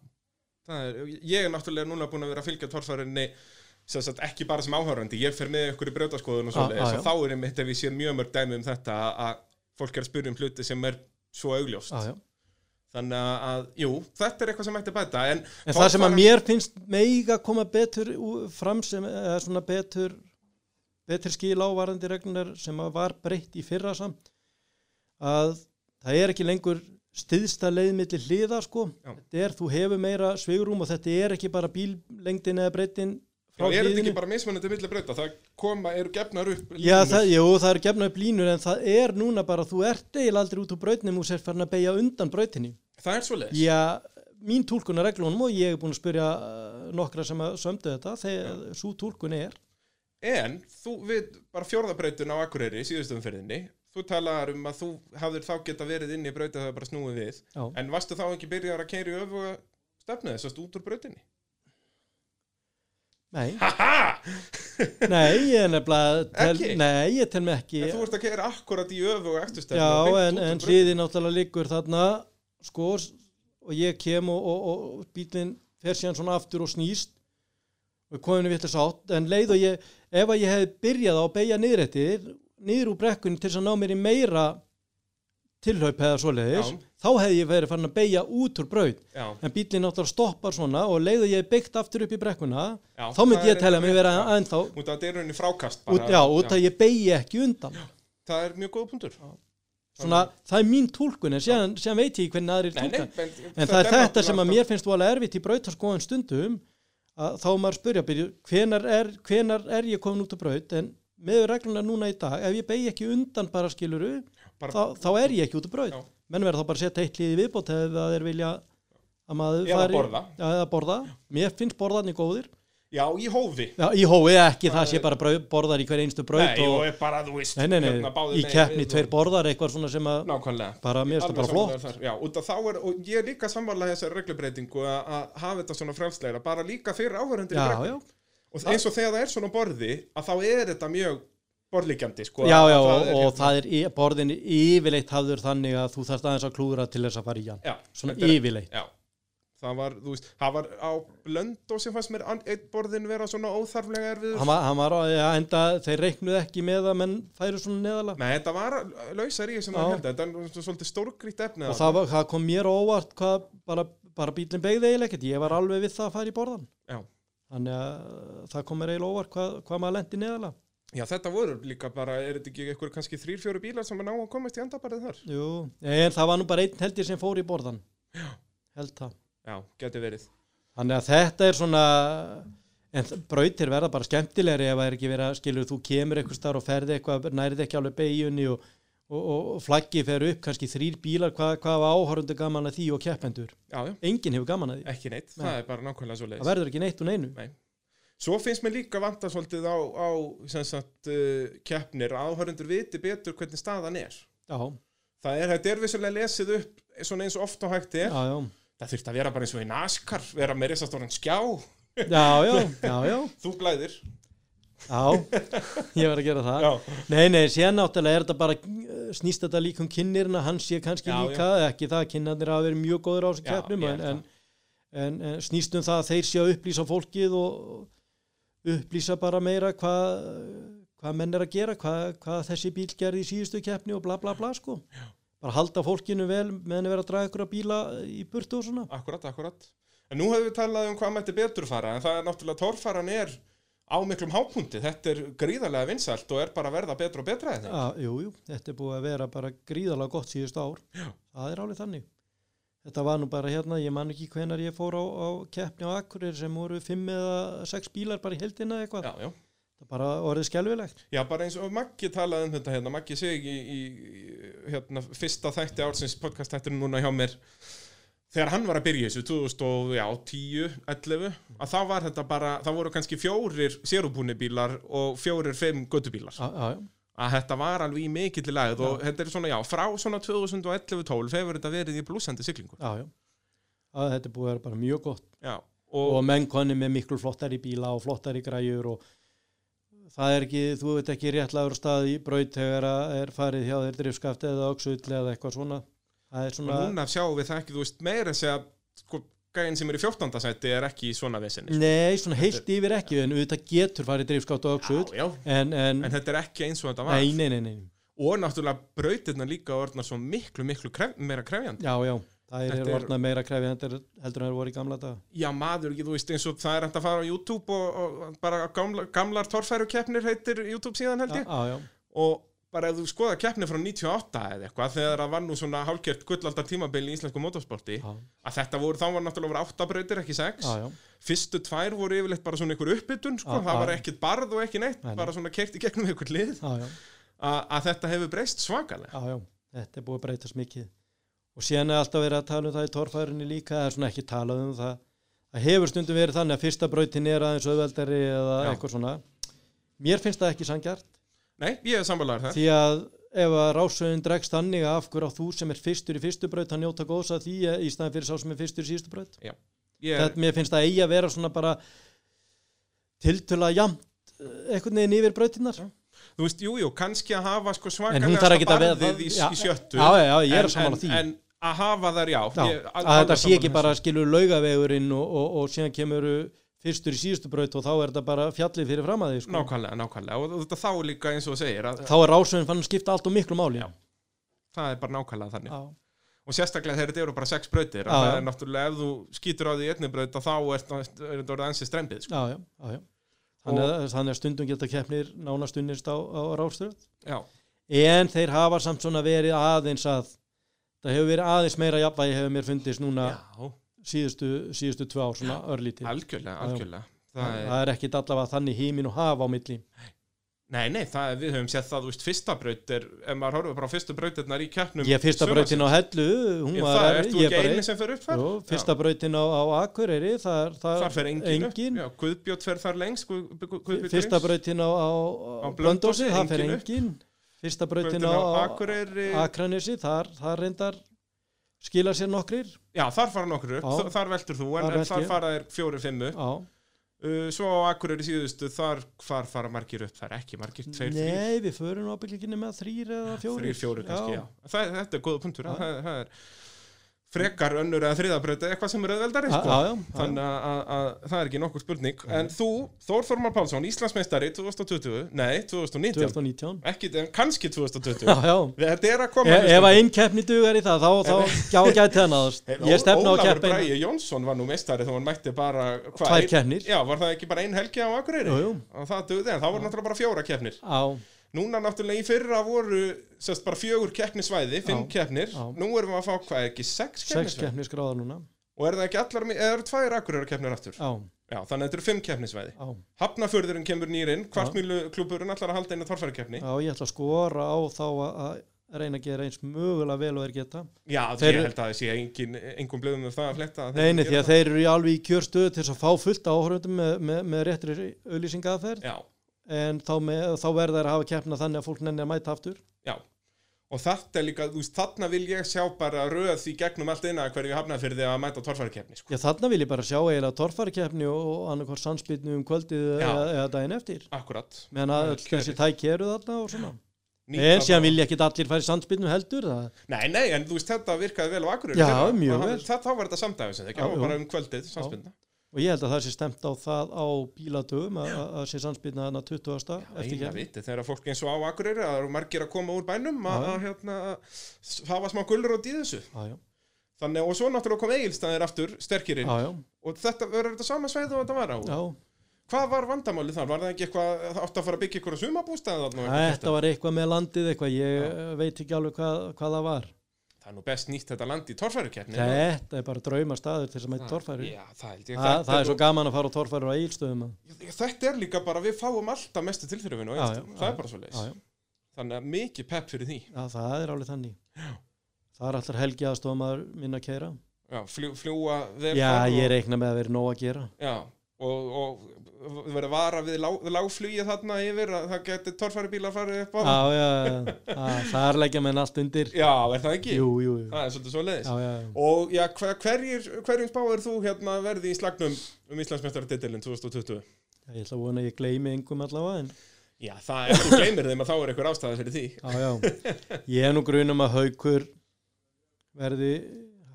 Það er, ég er náttúrulega núna búin að vera að fylgja torfærinni sem sagt ekki bara sem áhörandi, ég fer með ykkur í brjótaskoðun og
Já,
svoleiðis
já,
og þá er einmitt ef ég sé mjög mörg dæmi um þetta að- að fólk er að spyrja um hluti sem er svo augljóst
Já, já.
þannig að, að, jú, þetta er eitthvað sem mætti bæta en,
En það sem að mér finnst mega koma betur ú- fram sem, eða svona betur, betur skil ávarandi reglunar sem að var breytt í fyrra samt, að það er ekki lengur stiðsta leið milli hliða sko,
Já.
þetta er, þú hefur meira svigurum og þetta er ekki bara bíllengdin eða breytin frá
Já, er þetta ekki
hliðinu.
bara mismunandi milli breyta, það koma, eru gefnar upp
Já,
línur.
það, jú, það er gefna upp línur en það er núna bara, þú ert eiginlega aldrei út úr brautinum og sér farin að beigja undan brautinni.
það er svoleiðis
Já, mín túlkun er reglunum og ég er búin að spyrja eh, nokkra sem að sömdu þetta þegar svo túlkun er
En þú, við, bara fjórðabreytun á Akureyri í síðustu umferðinni, þú talaðar um að þú hafðir þá geta verið inn í breyta þegar bara snúið við,
Já.
en varstu þá ekki byrjar að keiri öfuga stefnu þessast út úr breytinni?
Nei,
Haha!
nei, ég er nefnilega tel,
Ekki?
Nei, ég tel mig ekki
En þú ert að keira akkurat í öfuga eftir stefnu
Já, en, en hliði náttúrulega liggur þarna sko s- og ég kem og, og, og bílinn fer síðan svona aftur og snýst og kominu vitt þess átt en leið og ég, ef að ég hefði byrjað á að beigja niður eftir, niður úr brekkunni til þess að ná mér í meira tilhaup eða svoleiðis,
Já.
þá hefði ég verið fann að beigja út úr braut
Já,
en bílinn náttúrulega stoppar svona og leiðu ég er byggt aftur upp í brekkuna
Já,
þá myndi
það
ég
er
telja mig vera
rétt, já.
ennþá
út af að þetta er rauninni frákast bara.
út, já, út að ég beigi ekki undan
Það er mjög góð punktur.
svona, það er mín túlkun en séðan, séðan veit ég hvernig aðrir
Nei, nei,
túlka
en,
en það er þetta sem að mér finnst þú alveg erfitt í brautaskoðan stundum að þá er maður spyrja byrju, hvenar er, hvenar er ég komin út á braut en með regluna núna í dag ef ég beigi ekki undan bara skiluru þá,
Bara,
þá er ég ekki út á braut
Já.
menn verður þá bara að setja eitt liði viðbót ef það er vilja að maður
Eða
fari-
borða.
já, eða borða. mér finnst borðarnir góðir
já, í hófi.
Já, í hói ekki, það
Það
sé
er-
bara brauð, borðar í hver einstu braut
Nei,
og,
og er bara, þú veist,
nei, nei, nei,
hérna, báðir
í
megin
keppni
við og-
tveir borðar eitthvað svona sem að
Nákvæmlega.
bara, mér finnst það bara
Alveg
flott
sammála þér þar. Já, út af þá er, og ég er líka samvarlega þessari reglubreitingu að að hafa þetta svona frelsleira, bara líka fyrir áhverjandir
Já,
brekkunni.
já,
Og eins og þegar það er svona á borði, að þá er þetta mjög borðlíkjandi, sko.
já,
að-
já
að það
og,
er
og
hérna-
það er í- borðin yfirleitt hafður þannig að þú þarft aðeins að klúðra til þess að fara í hann
Já,
svona
þetta er-
yfirleitt,
Já, það var, þú veist, það var á lönd og sem fannst mér an- einn borðin vera svona óþarflega erfiður.
hann var, hann var að enda, þeir reiknuð ekki með að menn færu svona neðala
Nei, þetta var lausar í þessum
Já.
að held þetta er svona svolítið stórgrýtt efnið.
og það, var, það kom mér á óvart hvað bara, bara bílinn beigði eiginlega ekkert, ég var alveg við það að fara í borðan
Já.
þannig að uh, það kom mér eiginlega á óvart hvað, hvað maður lendi neðala
Já, þetta voru líka bara, er þetta ekki eitthvað kannski þrýr, fjóru bílar sem er ná að komast í endabarið þar?
Jú, en það var nú bara einn heldir sem fór í borðan held það
Já, geti verið.
Þannig að þetta er svona en þ- brautir verða bara skemmtilegri ef það er ekki verið að skilur þú kemur eitthvað starf og ferði eitthvað, nærið ekki alveg beigjunni og, og, og, og flaggi fer upp kannski þrýr bílar, hvað, hvað var áhorundu gaman að því og keppendur,
Já, já.
enginn hefur gaman að því
ekki neitt,
Nei.
það er bara nákvæmlega svo
það verður ekki neitt og neinu
Nei. Svo finnst mér líka vanta svolítið á, á sem sagt, uh, keppnir að áhörundur viti betur hvernig staðan er.
Já,
Það er, þetta er vissulega lesið upp svona eins og oft og hægt
já,
er.
já,
Það þurft að vera bara eins og í NASCAR, vera með risastóran skjá,
já, já, já, já,
þú glæðir. [laughs]
já. ég verð að gera það
Já,
Nei, nei, síðan náttúrulega er þetta bara eh, snýst þetta líka um kynnirna, hann sé kannski
Já,
líka, ekki það, kynnarnir hafa verið mjög góður á þessum
Já,
keppnum,
ég
en,
held
en, en, en snýst um það að þeir sé að upplýsa fólkið og upplýsa bara meira hvað hvað menn er að gera, hvað, hvað þessi bíl gerði í síðustu keppni og bla bla bla sko. Já. bara halda fólkinu vel meðan að vera að draga ykkur að bíla í burtu og svona
akkurat, akkurat. En nú hefur við talað um hvað mætti betur fara, en það er náttúrulega torfaran er á miklum hápunkti. Þetta er gríðarlega vinsælt og er bara að verða betra og betra þetta.
Já, Ah, jú, jú, þetta er búið að vera bara gríðalega gott síðust ár. Já. Það er alveg þannig. Þetta var nú bara hérna, ég man ekki hvenar ég fór á, á keppni á Akureyri sem voru fimm eða sex bílar bara í heldina eitthvað.
Já, já.
Það bara orðið skelvilegt.
Já, bara eins og Maggi talaði um þetta hérna, Maggi segi í, í hérna, fyrsta þætti ársins podcast þættinu núna hjá mér þegar hann var að byrja í þessu 2010, 11 að þá var þetta bara, það voru kannski fjórir sérubúnibílar og fjórir fimm göttubílar
já, já, já.
að þetta var alveg í mikill lagð og þetta er svona, já, frá svona 2011-12 hefur þetta verið í blúsandi siglingu
já, já. Að þetta er búið að vera bara mjög gott
já,
og
og,
menn konni með miklu flottari bíla og flottari græjur og það er ekki, þú veit ekki réttlagur stað í braut þegar að er farið hjá þér drifskaft eða öksull eða eitthvað svona það er
og
svona
núna sjáum við það ekki, þú veist, meira að segja, sko, gæinn sem er í 14. sæti er ekki í svona vesinni
nei, svona heilt yfir ekki en auðvitað getur farið drifskaft og
já,
öksull
já,
en, en,
en þetta er ekki eins og þetta var
nei, nei, nei, nei,
og náttúrulega brautirna líka orðnar svo miklu, miklu kref, meira krefjandi
já, já það
Þetta
er
er-
orðnað meira krefið heldur en það voru í gamla dag
Já, maður, ekki, þú veist, eins og það er hægt að fara á YouTube og, og bara gamla, gamlar torfærukeppnir heitir YouTube síðan held
já,
ég
já, já,
og bara ef þú skoða keppni frá 98 eða eitthvað þegar það var nú svona hálkjört gullaldar tímabil í íslensku motorsporti
já,
að þetta voru, þá var náttúrulega voru átta brautir ekki sex,
já, já.
fyrstu tvær voru yfirleitt bara svona einhver uppbytun, sko,
Já,
það
já.
var ekkit barð og ekki neitt,
Nei, nei.
bara svona keirt í gegnum einhver lið,
já, já.
a, að þetta hefur breyst svakalega.
Já, já, þetta er búið að breytast mikið og síðan er alltaf verið að tala um það í torfærunni líka, það er svona ekki talað um það það hefur stundum verið þannig að fyrsta brautin er aðeins auðveldari eða
Já.
eitthvað svona mér finnst það ekki sangjart
Nei, ég er samvælaður það.
því að ef að rásöðin dregst þannig að af hverju á þú sem er fyrstur í fyrstu braut að njóta góðs að því eh, í staðan fyrir sá sem er fyrstur í síðustu braut
Ég er,
þetta mér finnst það eigi að vera svona bara tiltöla jamt eh, einhvern veginn yfir brautinnar
þú veist, jú, jú, kannski að hafa sko
en hún þarf ekki
svakalegasta
að vera
barðið í,
Já,
í sjöttu.
já, já, já, ég er
En-
að samála því
en, en að hafa þær, já,
Já,
ég- al-
að þetta
alveg
sé
sammála
ekki
þessu.
bara skilur laugavegurinn og, og, og síðan kemur fyrstur í síðustu braut og þá er þetta bara fjallið fyrir fram að því sko.
nákvæmlega, nákvæmlega, og þetta þá líka eins og þú segir að
þá er rásöðin fann að skipta allt og miklu máli já,
það er bara nákvæmlega þannig
já, og
og sérstaklega þegar þetta eru bara sex brautir að
Já,
það
já.
er náttúrulega, ef þú skýtur á því í einni braut að þá er er þetta orðið ansið strempið sko.
já, já, já. Þannig, að, þannig að stundum geta keppnir nánast unnist á, á rástöð
já,
en þeir hafa samt svona verið aðeins að það hefur verið aðeins meira jafnvægi hefur mér fundist núna
já,
síðustu, síðustu tvö ár svona örlítið
algjörlega,
já.
algjörlega það er,
það er ekkit allavega þannig hímin og hafa á milli
nei, nei, það er, við höfum sett það, þú veist, fyrsta braut er, ef maður horfir bara á fyrstu brautirnar í keppnum
ég fyrsta
Um sumarsins.
brautin á hellu hún
Ég-
var
það er, þú
ég
ekki
bara-
eini sem fer upp þar
Jú, fyrsta brautin á, á Akureyri þar, þar,
þar fer engin,
engin.
upp já, Guðbjótt fer þar lengst Guð, Guð, Guðbjörn
fyrsta
Reyns.
brautin á,
Á
á, á
Blönduósi,
Blöndósi, það fer
engin upp.
engin fyrsta brautin
Brautin
á, á
Akureyri
Akranesi, þar, þar reyndar skila sér nokkrir
Já, þar fara nokkur upp,
Já.
Þa- þar veltur þú, en
Þar
þar,
velt
þar
ég.
fara þér fjóri fimmu.
á,
Uh, svo á Akureyri síðustu, þar hvar fara margir upp, það er ekki margir, tveir, þrír,
nei við förum ábygginginni með þrýr eða fjórir
þrír, fjóri kannski, já. Það, er- þetta er góða punktur,
Já.
það, það er frekar önnur eða þriðabröð, eitthvað sem er auðveldari,
Já,
sko.
já, já, já.
Þannig að, að, að það er ekki nokkur spurning. En þú, Þór Þormar Pálsson, Íslandsmeistari 2020, nei, 2019,
2019
ekki, en kannski 2020.
já, já.
Þetta er að
E,
koma.
ef að einn keppni dugar í það þá, þá gjá- gæti það náðast ég stefna á að
Ólafur
keppa eina-
Bræði Jónsson var nú meistari þá hann mætti bara hvað,
tvær
ein-
keppnir
Já, var það ekki bara ein helgi á Akureyri?
Jú, jú.
Og það döði, en það voru náttúrulega bara fjóra keppnir.
á,
Núna náttúrulega í fyrra voru sérst bara fjögur keppnisvæði, fimm
Já,
keppnir.
já.
Nú erum við að fá, hvað er ekki, sex
sex
keppnisvæði?
keppnir skráðar núna
Og er það ekki allar, eða eru tvær Akureyra keppnir aftur?
á,
Já, þannig að þetta eru fimm keppnisvæði.
á
Hafnafjörðurinn kemur nýrinn, kvartmýlu klúburinn allar að halda einu þorfærakeppni.
Já, ég ætla að skora á þá að að reyna að gera eins mögulega vel og þeir geta.
Já,
Þeir-
ég held að það sé engin, engum blöðum um það að fletta. að þeir
Neini,
gera
því að
það.
þeir eru í alveg í kjörstöðu til þess að fá fullt áhörundum með, með, með réttri auðlýsingaðferð,
Já,
en þá, með, þá verða þeir að hafa keppna þannig að fólk nenni að mæta aftur.
Já, og þetta er líka, þú veist, þarna vil ég sjá bara röð í gegnum allt eina hverju hafnað fyrir því að mæta torfærukeppni, sko.
Já, þarna vil ég bara sjá eiginlega torfarikeppni og, og annarkvært sannsbytni um kvöldið
Já.
eða, eða daginn eftir.
Akkurat.
Meðan
Já,
að öll
kjörið.
þessi tæki eru þarna og svona.
Nýta
en
það.
síðan vil ég ekki allir færi sannsbytnum heldur, það,
Nei, nei, en þú veist, þetta virkaði vel á Akureyri.
Já,
þegar-
mjög
það-
vel.
Það, þá var þetta samdæfis, eða ekki,
Já,
það var
jú.
bara um kvöldið, samspilna.
og ég held að það sé stemt á það á bílatöfum að, að- að sé sannsbytna þarna 20. eftir
Eina
keppni.
viti, þegar að fólk eins og á Akureyri, að það eru margir að koma úr bænum, að,
Já.
að hérna, að s- hafa smá gulrót í þessu.
Já, já,
Þannig, og svo náttúrulega kom Egilstaðir aftur, sterkirinn,
já, já,
og þetta verður þetta sama sveið og þetta var á.
já.
Hvað var vandamálið þar? Var það ekki eitthvað, það átti að fara að byggja eitthvað sumabústæði þarna? og
Æ,
eitthvað þetta?
þetta var eitthvað með landið eitthvað, ég eh, veit ekki alveg hvað, hvað það var.
Það er nú best nýtt þetta land í torfærukeppni
Þetta er bara draumastaður til þess að mæta
Það-
torfæru.
Já, það held Ah, ég
Þa,
Þetta
það er svo
nú-
gaman að fara á torfæru á eigilstöðum. að-
Þetta er líka bara, við fáum alltaf mestu tilþrifin og
Já,
einstum,
já,
það
já,
er bara svo
Já, já,
Þannig að mikið pepp fyrir því
já, það er alveg þannig. Það er allar helgi aðstofum að minna að keira.
já, fljú, fljúa vel
Já,
þar
ég
og,
reikna með að vera nóg að gera.
já, og, og verið vara við lá, lágflugi þarna yfir að það geti torfæribílar farið upp á
Já, já, já, já, það er leggja menn allt undir.
já, er það ekki?
Jú, jú, jú.
það er svolítið svo leiðis
Já, já, já.
og já, hver, hverjir, hverjum spáir þú hérna verði í slagnum um Íslandsmeistaratitilin 2020?
Ég ætla að vona að ég gleymi yngum allavega
[laughs]
en
Já, það er, þú gleymir þeim að þá er einhver ástæða fyrir því
já, já. Ég er nú grunum að haukur verði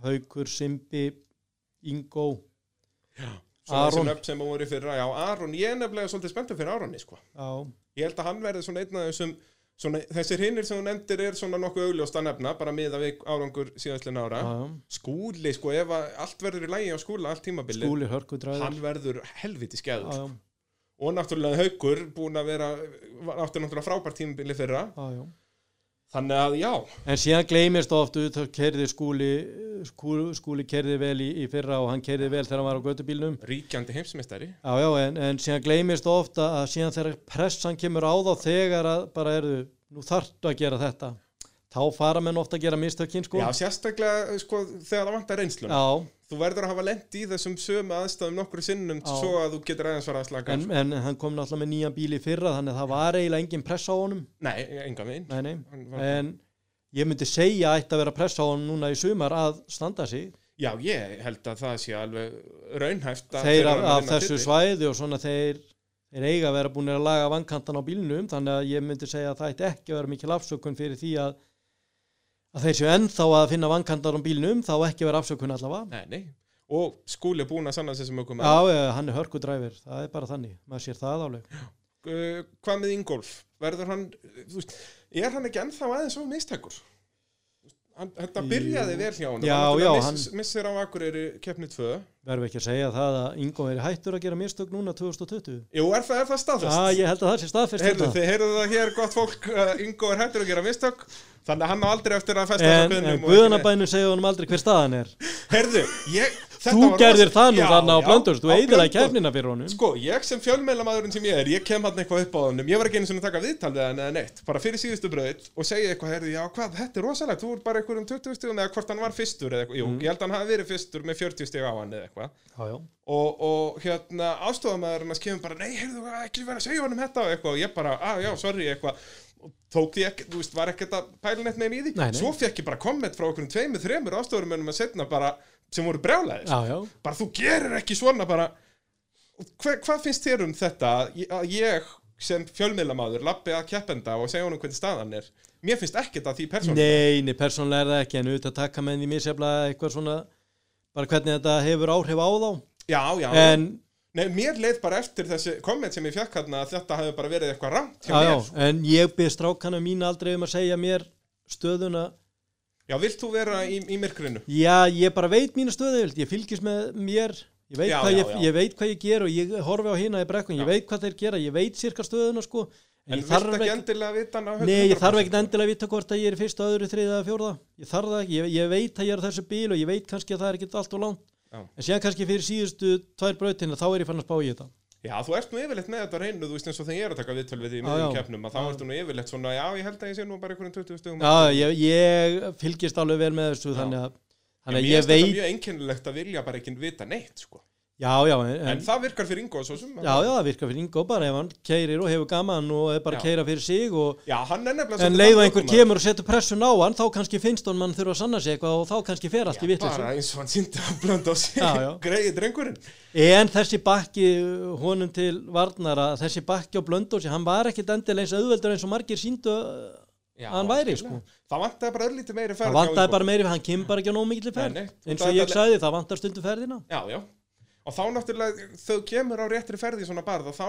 haukur, simbi, ingó.
Svona þessi
Aron.
nöfn sem voru í fyrra, já, Aron, ég er nefnilega svolítið spenntur fyrir Aronni, sko
Já,
Ég held að hann verði svona einn af þessum svona, þessir hinnir sem þú nefndir er svona nokkuð augljóst að nefna, bara miða við árangur síðastlinn ára.
já, já.
Skúli, sko, ef að allt verður í lægi á skúla, allt tímabilið,
Skúli hörkudræður.
hann verður helviti
Já,
skeður.
já,
Og náttúrulega haukur búin að vera, var- átti náttúrulega frábært tímabilið fyrra,
já, já.
þannig að já,
En síðan gleymist oft út þá kerði skúli, skúli, skúli kerði vel í, í fyrra og hann kerði vel þegar hann var á göttubílnum.
ríkjandi heimsmeistari.
Já, já, en, en síðan gleymist oft að að síðan þegar pressan kemur á þá þegar að bara erðu, nú þarftu að gera þetta. Þá fara menn ofta að gera mistökin, sko.
Já, sérstaklega, sko, þegar það vantar reynslun.
Já,
Þú verður að hafa lent í þessum sömu aðstæðum nokkru sinnum
Já.
svo að þú getur aðeins fara að slaka.
en,
af.
en hann kom náttúrulega með nýjan bíl í fyrra þannig að það var eiginlega engin pressa á honum
Nei, enga veginn.
nei, nei.
Hann var-
en ég myndi segja að ætti að vera pressa á honum núna í sumar að standa sig
Já, ég held að það sé alveg raunhæft að
þeir
þeir
af,
eru að
af
vinna
þessu
titil.
svæði og svona þeir, þeir eiga að vera búinir að laga vankantan á bílnum þannig að ég myndi segja að það ætti ekki að vera mikil afsökun fyrir því að að þeir séu ennþá að finna vankantan á bílnum þá ekki að vera afsökun allavega
Nei, nei. Og skúli búin að sanna þessum okkur með.
Já, eh, hann er hörkudræfir, það er bara þannig maður sér það áleg
Uh, hvað með Ingolf? Verður hann, eh, þú veist, er hann ekki ennþá aðeins og mistækur? Hann, þetta
Jú.
byrjaði vel hjá honum.
Já,
hann. náttúrulega
já,
miss, Missir á Akureyri keppni 2.
verðum ekki að segja það að Ingo er hættur að gera mistök núna 2020
Jú, er það, er það staðfest?
Já, ég held að það sé hérna. staðfyrst
Heyrðu, þið heyrðu það hér, gott fólk, uh, Ingo er hættur að gera mistök, þannig að hann á aldrei eftir að festa
En,
þessa beiðnum
en
og ekki neitt.
Guðanabænum segja honum aldrei hver staðan er
Heyrðu, ég, þetta
Þú
var
gerðir
rosa-
það nú
Já,
þarna á
já,
Blöndur Þú
á
eidilaði
Blönduós.
kefnina fyrir honum
Sko, ég sem fjölmeilamadurinn sem ég er, ég kem hann eitthvað upp á honum, ég var ekki einu sinni að taka viðtal við hann eða neitt, bara fyrir síðustu bröðið og segja eitthvað, heyrðu, já, hvað, þetta er rosalegt, þú ert bara eitthvað um 20 stíðum eða hvort hann var fyrstur eða
Mhm.
eitthvað, jú, ég held að hann hafi verið fyrstur með 40 stíð á hann eða eitthvað
Já, já,
og, og hérna ástofamæður hann kemur bara, nei, heyrðu, hvað, ekki verið að segja honum þetta og eitthvað, og ég bara, að, já, sorry, eitthvað og tók því ekki, þú veist, var ekkert að pæla neitt meginn í því,
Nei, nei.
svo fekk ég bara komment frá okkur um tveimur, þreimur ástofamæðurum að setna bara, sem voru brjálæðir,
já, já.
bara þú gerir ekki svona bara, Hve, hvað finnst þér um þetta að ég- að ég sem fjölmiðlamaður lappi að keppenda og segja honum hvernig staðan er, mér finnst ekkert að því persónum,
Nei, nei, persónlega er það ekki En auðvitað taka menn í misjaflega eitthvað svona Bara hvernig þetta hefur áhrif á þá
já, já,
En,
nei, mér leið bara eftir þessi komment sem ég fekk hérna að þetta hefur bara verið eitthvað rangt hjá
já, já,
mér, sko.
en ég byrð strákana mín aldrei um að segja mér stöðuna
Já, vilt þú vera í, í myrkrinu?
Já, ég bara veit mína stöðu Ég fylgist með mér Ég veit,
Já,
hvað
já,
ég,
já.
ég veit hvað ég ger og ég horfi á hina í brekkun, ég
Já.
veit hvað þeir gera, ég veit sirka stöðuna sko,
En
en, ég
vilt
þarf
ekki,
ekki,
endilega vita hana
Nei, ég þarf ekkert endilega að vita hvort að ég er í fyrsta, öðru, þriða eða fjórða. Ég þarf það ekki, ég, ég veit að ég er á þessu bíl og ég veit kannski að það er ekkert allt og langt.
Já.
En síðan kannski fyrir síðustu tvær brautina þá er ég fann að spá í þetta.
Já, þú ert nú yfirleitt með þetta á hreinu, þú veist eins og þegar ég er að taka viðtöl við því í
Já,
miðjum
já.
keppnum að þá
Já.
ertu nú yfirleitt svona, já, ég held að ég sé nú bara einhverjum 20 stugum
Já, ég, ég fylgist alveg vel með þessu þannig að, þannig að ég
Mér finnst
veit,
þetta mjög einkennilegt að vilja bara ekki vita neitt, sko
já, já, en,
En,
en,
það virkar fyrir Ingo svo sem
já, já, það virkar fyrir Ingo bara ef hann keirir og hefur gaman og er bara
Já.
að keira fyrir sig og
Já, hann er nefnilega
En
svolítið
leið og
þannig
einhver
ökumaður.
kemur og setur pressun á hann, þá kannski finnst hann mann þurfa að sanna sig eitthvað og þá kannski fer allt í vitlis.
Bara eins og hann sýndi að blönda á sig
Já, já.
[laughs] Greiði drengurinn
En þessi bakki uh, honum til varnar að þessi bakki á blöndósi, hann var ekkit endilega eins auðveldur eins og margir síndu uh,
Já,
Hann væri, sko.
algjörlega. Það vantaði bara örlítið meiri ferð
það
hjá
vantaði
Ingo.
bara meiri, hann kemur bara ekki á nóg mikill ferð,
Nei, nei, þú ert
eins og ég
endanlega-
sagði það vantar stundu ferðina
Já, já. Og þá náttúrulega, þau kemur á réttri ferði í svona barð og þá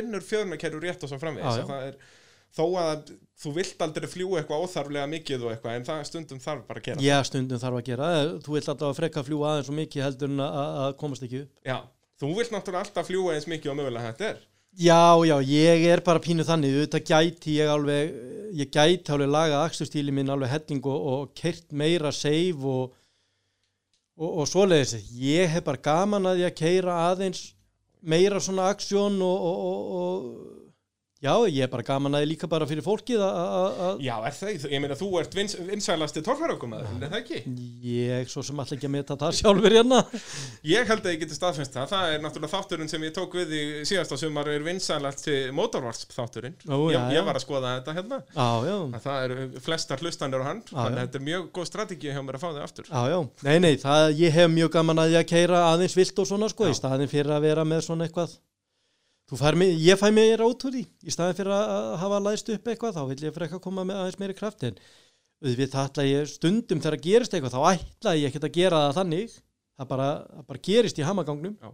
vinnur fjörnarkerju rétt og svo framvegis.
Já, já.
Og það Er, þó að þú vilt aldrei fljú eitthvað óþarflega mikið og eitthvað, en það stundum þarf bara að gera.
Já, stundum þarf að gera, Eh, þú vilt alltaf að frekka fljúa aðeins og mikið heldur en að, að- að komast ekki upp
Já. Þú vilt náttúrulega alltaf fljúa eins mikið og mögulega þetta er.
Já, já, ég er bara pínu þannig, auðvitað gæti ég alveg, ég gæti alveg laga akstustíli minn alveg helling og, og kert meira seif og, og, og svoleiðis. Ég hef bara gaman að ég að keira aðeins meira svona aksjón og, og, og, og Já, ég er bara gaman að því líka bara fyrir fólkið að- að að-
Já, er það, ég meina þú ert vins, vinsælasti torfæraugumæður, er það ekki?
ég svo sem ætla ekki að meta það
[laughs]
sjálfur hérna.
Ég held að ég geti staðfennst það, það er náttúrulega þátturinn sem ég tók við í síðasta sumar er vinsælasti mótorvarsp þátturinn.
Ó,
ég,
já, já.
ég var að skoða þetta hérna,
Já, já,
að það eru flestar hlustanir á hann, þannig
Já, já.
að þetta er mjög góð strategið hjá mér að fá þig aftur.
já, já. Nei, nei, það, ég hef mjög gaman að því að keira aðeins vilt og svona sko,
Já.
í staðin fyrir að vera með svona eitthvað. Þú fær mig, ég fæ mér át úr því, í staðin fyrir að að hafa læðst upp eitthvað, þá vil ég frekka koma með aðeins meiri kraftin. Við það ætla ég stundum þegar gerist eitthvað, þá ætla ég ekkert að gera það þannig, það bara, það bara gerist í hamagangnum.
Já.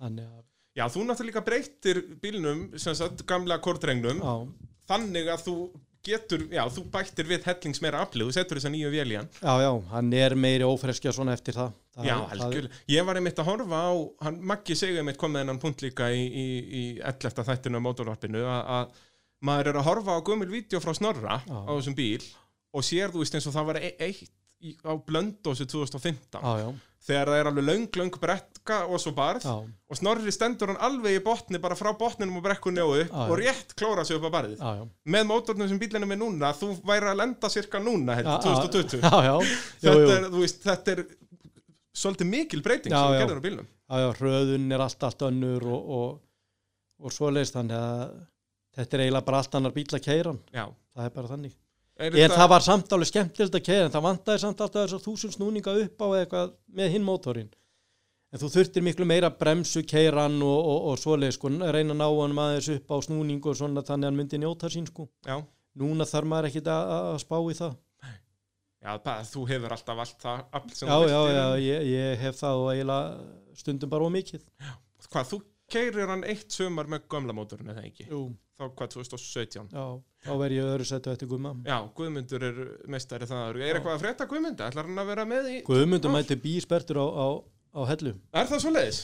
Þannig að,
Já, þú náttúrulega líka breytir bílnum, sem sagt, gamla kortrengnum,
já,
þannig að þú getur, já, þú bættir við hellings meira aflið, þú setur þess að nýju vél í hann.
Já, já, hann er meiri ófreskja svona eftir það. það
Já,
það-
algjörlega. Ég var einmitt að horfa á, hann Maggi segja einmitt komið hennan punkt líka í, í, í 11. þættinu á mótorvarpinu að, að maður er að horfa á gömul vídeo frá Snorra
Já.
á þessum bíl og sér þú veist eins og það var e eitt í, á blöndósi 2015
Já, já,
þegar það er alveg löng, löng brekka og svo barð
já,
og Snorri stendur hann alveg í botni bara frá botninum og brekkunni og upp
Já, já.
og rétt klóra sig upp að barðið.
já, já.
Með mótornum sem bílunum er núna, þú væri að lenda cirka núna, held,
Já,
2020
Já, já, já,
þetta
já,
er, þú veist, þetta er svolítið mikil breyting
Já,
sem
já.
gerður á bílnum.
já, já, hröðun er allt, allt önnur og, og, og svoleiðis þannig að þetta er eiginlega bara allt annar bíl að keira hann,
Já.
það er bara þannig.
Er
En það var samt alveg skemmtilegt að keira, en það vantaði samt alltaf þessar þúsund snúninga upp á eitthvað með hinn mótorinn. En þú þurftir miklu meira bremsu keiran og, og, og svoleiðis, sko, reyna að ná hann aðeins upp á snúningu og svona þannig að hann myndi njóta sín, sko.
Já,
Núna þarf maður ekki að, að að spá í það.
já það, þú hefur alltaf allt það afl sem
Já,
þú
já,
vilt í
já,
raun.
ég, ég hef það og eiginlega stundum bara ómikið.
Hvað, þú keirir hann eitt sumar með gömla mótorinn eða ekki?
Jú,
Þá hvað, 2017?
já, þá verð ég í öðru sættu eftir Guðma.
Já, Guðmundur er meistari það. Er
Já.
eitthvað að frétta Guðmunda? Ætlar hann að vera með í?
Guðmundur mæti bíspertur á, á, á hellu.
Er það svo leiðis?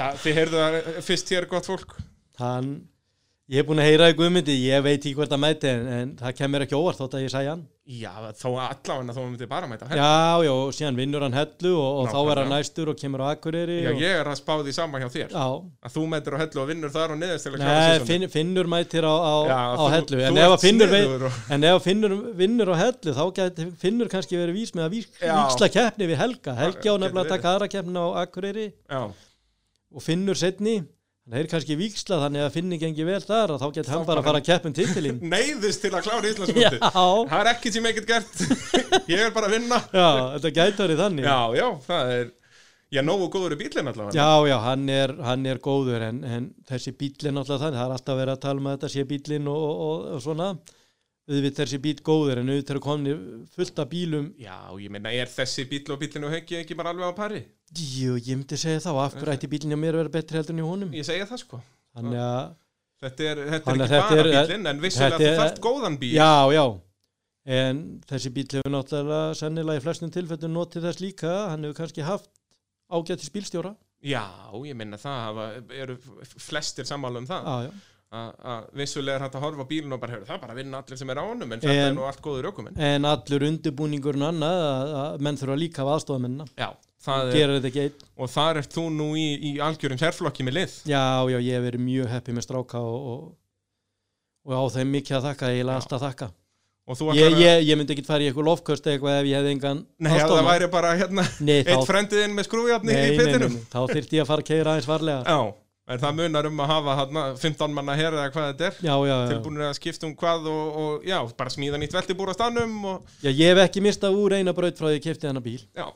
Það, þið heyrðu það eh, fyrst hér gott fólk.
Hann, ég hef búin að heyra í Guðmundi, ég veit ekki hvert að mæti en, en það kemur ekki óvart þótt að ég sæja hann.
Já, þó allavega þó hann myndi bara mæta.
Já, já, og síðan vinnur hann hellu og, og þá
Nákvæmlega.
er hann næstur og kemur á Akureyri.
Já,
og,
ég er að spá því sama hjá þér.
Já,
Að þú mætir á hellu og vinnur þar og niðurst til að klára
Nei,
seasonið.
finn, Finnur mætir á, á,
Já,
á
þú-
hellu,
þú
en ef,
ert
að finnur, vei,
sniðugur og-
en ef að Finnur vinnur á hellu þá geti Finnur kannski verið vís með að vík,
Já.
víksla keppni við Helga Helgi á
Getur
nefnilega að
verið.
taka aðra keppnina á Akureyri
Já.
og Finnur setni hann er kannski víksla þannig að Finnur gengi vel þar að þá geti hann
Þá
bara að
bara-
fara að keppin
[laughs]
titilinn
neyðist til að klára
Já,
Íslandsmótið
já,
það er ekkert sem ég get gert [laughs] ég er bara að vinna
þetta gæti verið þannig
já, já, það er já, nógu góður í bílinn allavega
já, já, hann, er, hann er góður en, en þessi bílinn alltaf þannig það er alltaf verið að tala um að þetta sé bílinn og, og, og, og svona auðvitað er þessi bíl góður en auðvitað er komni fullt af bílum
já, ég meina, er þessi bíl og bílinn og heggi ekki bara alveg á pari
Jú, ég myndi segja það og af hverju ætti bílinni á mér að vera betri heldur en í honum
ég segja það sko
Þannig að,
þetta er, þetta er
Þannig að
ekki
þetta
bara
er-
bílinn en vissulega
þetta
þú
er-
þarft góðan bíl
já, já En þessi bíl hefur náttúrulega sennilega í flestum tilfellum notið þess líka Hann hefur kannski haft ágætis bílstjóra
já, ég meina, það hafa- eru flestir sammála um það
Já, já
Að- að vissulega er hægt að horfa á bílinn og bara hefur það er bara að vinna allir sem er á honum en þetta er
En-
nú allt góður ökumenn
En allur undirbúningurinn annað að, að menn þurfa líka að aðstofamennina
já, það er,
Gerir þetta ekki einn
og þar ert þú nú í, í algjörum sérflokki með lið
Já, já, ég hef verið mjög heppi með stráka og, og, og á þeim mikið að þakka, eiginlega allt að þakka
og þú
ég,
ætlar að-
ég, ég myndi ekki fara í eitthvað lofköst eitthvað ef ég hefði engan
Nei, ef það
aðstoðarmann.
væri bara hérna
Nei, þá
eitt frendiðinn með skrúfjarni í
Nei, nei, nei,
pittinum
nei, þá þyrfti ég að fara að keira aðeins varlega
Já, en það munar um að hafa hana, 15 manna herra eða hvað þetta er
Já, já, já.
tilbúinir að skipta um hvað og, og já, bara smíða nýtt veltibúr á stannum og,
já Ég hef ekki mistað úr eina braut frá því ég kefti hennar bíl
já,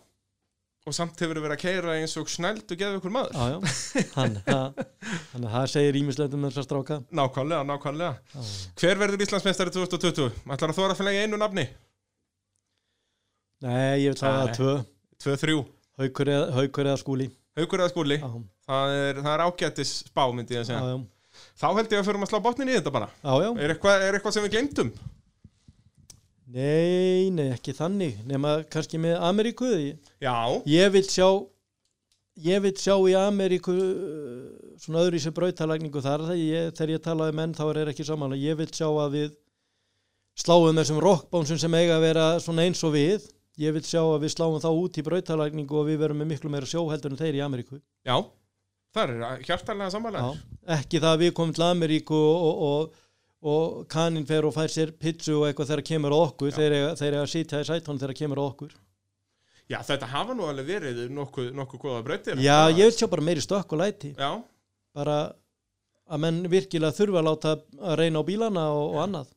og samt hefur verið að keira eins og snælt og gefa ykkur maður
Já, já Þannig að þannig að það segir ímislegt um þessar stráka
Nákvæmlega, nákvæmlega
Já.
Hver verður Íslandsmeistari 2020? Ætlar að þóra að fylgja einu nafni?
Nei, ég vil hafa
Nei.
það tvö
2-3
Haukur eða, haukur eða skúli
Haukur eða skúli,
Já,
það er, það er ágætis spá myndi ég að
já,
segja
já,
Þá held ég að förum að slá botnin í þetta bara
já, já.
Er eitthvað, er eitthvað sem við glemdum?
Nei, nei, ekki þannig Nema kannski með Ameríku Ég-
Já,
Ég vil sjá Ég vil sjá í Ameríku uh, svona öðru í sér brautalagningu þar þegar ég, þegar ég talaði menn þá er þeir ekki samanlega ég vil sjá að við sláum þessum rockbánsum sem eiga að vera svona eins og við ég vil sjá að við sláum þá út í brautalagningu og við verum með miklu meira sjó heldur en þeir í Ameríku
já, Það er hjartalega samanlegar.
Já, ekki það að við komum til Ameríku og, og, og, og kaninn fer og fær sér pizzu og eitthvað þegar kemur að okkur, þeir eiga, þeir eiga að sitja í sætónu þegar kemur að okkur.
Já. þetta hafa nú alveg verið nokkuð, nokkuð góða breytir.
Já, ég vil sjá bara meiri stökk og læti,
Já,
bara að menn virkilega þurfa að láta að reyna á bílana og, og annað.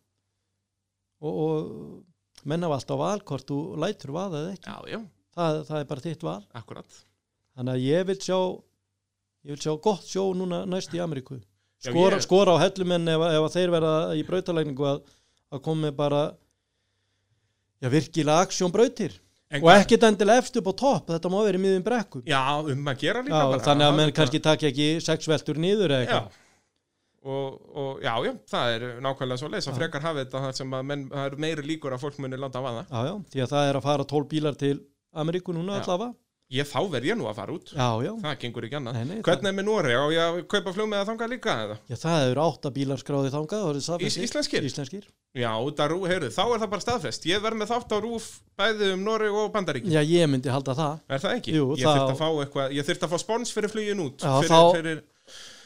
Og, og menn hafa alltaf valkort, þú lætur vaða eða ekki,
já, já,
það, það er bara þitt val.
akkurat.
Þannig að ég vil sjá, ég vil sjá gott sjó núna næst í Ameríku.
Já,
skora,
ég-
skora á hellumenn ef, ef að þeir verða í brautalægningu að, að koma með bara já, virkilega aksjón brautir
En
og
hvað-
ekkert endilega efst upp á topp þetta má verið miðum brekkum
Já, um að gera líka
já,
bara.
þannig að
Það
menn
er
kannski takja ekki sex veltur niður
Já.
eða eitthvað
Og, og já, já, það er nákvæmlega svo leys að frekar hafi þetta þar sem að menn, það eru meiri líkur að fólk munir landa að vaða.
já, já, því að það er að fara tól bílar til Ameríku núna
Já.
allavega
Ég þá verð ég nú að fara út.
já, já,
Það gengur ekki annað.
Nei, nei,
Hvernig er með Nóri? Á ég að kaupa flug með að þanga líka eða?
já, það eru átta bílar skráði þangað og það eru staðfestir.
Ís- íslenskir?
íslenskir
Já, út að rú, heyrðu, þá er það bara staðfest. Ég verð með þátt á rúf bæði um Nóri og Bandaríki.
já, ég myndi halda það
Er það ekki?
Jú,
ég
það-
þurfti að fá eitthvað, ég þurfti að fá spons fyrir flugin út.
Já,
fyrir,
þá-
fyrir,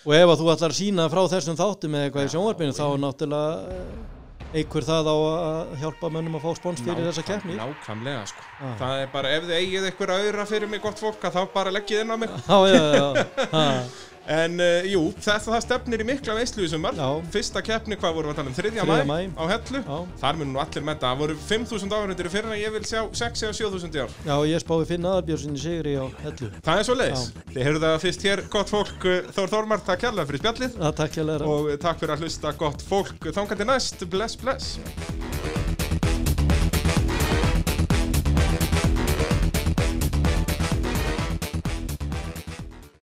og ef að þú ætlar að sína frá þessum þáttum eða eitthvað í
Já,
sjónvarpinu þá náttúrulega eh, eykur það á að hjálpa mönnum að fá spons fyrir þessa keppni Ah.
Nákvæmlega, sko.
Já.
Það er bara, ef þið eigið eitthvað auðra fyrir mig gott fólk, að þá bara leggið inn á mig.
já, já, já, ha,
En uh, jú, þetta það stefnir í mikla veislu í sumar.
Já.
Fyrsta keppni, hvað vorum við að tala um? 3.
Þriðja
mæ
maí.
á Hellu.
já,
Þar mun nú allir með það. Það voru 5.000 áhundir í fyrra, ég vil sjá 6.000 eða 7.000 í ár.
já, ég spái Finn Aðalbjörnssoni sigri á hellu
Það er svo leiðis. Þið heyrðu það fyrst hér, gott fólk, uh, Þór Þormar, takk hérlega fyrir spjallið
það takk ég að læra
og uh, takk fyrir að hlusta gott fólk. Þangandi næst, bless, bless.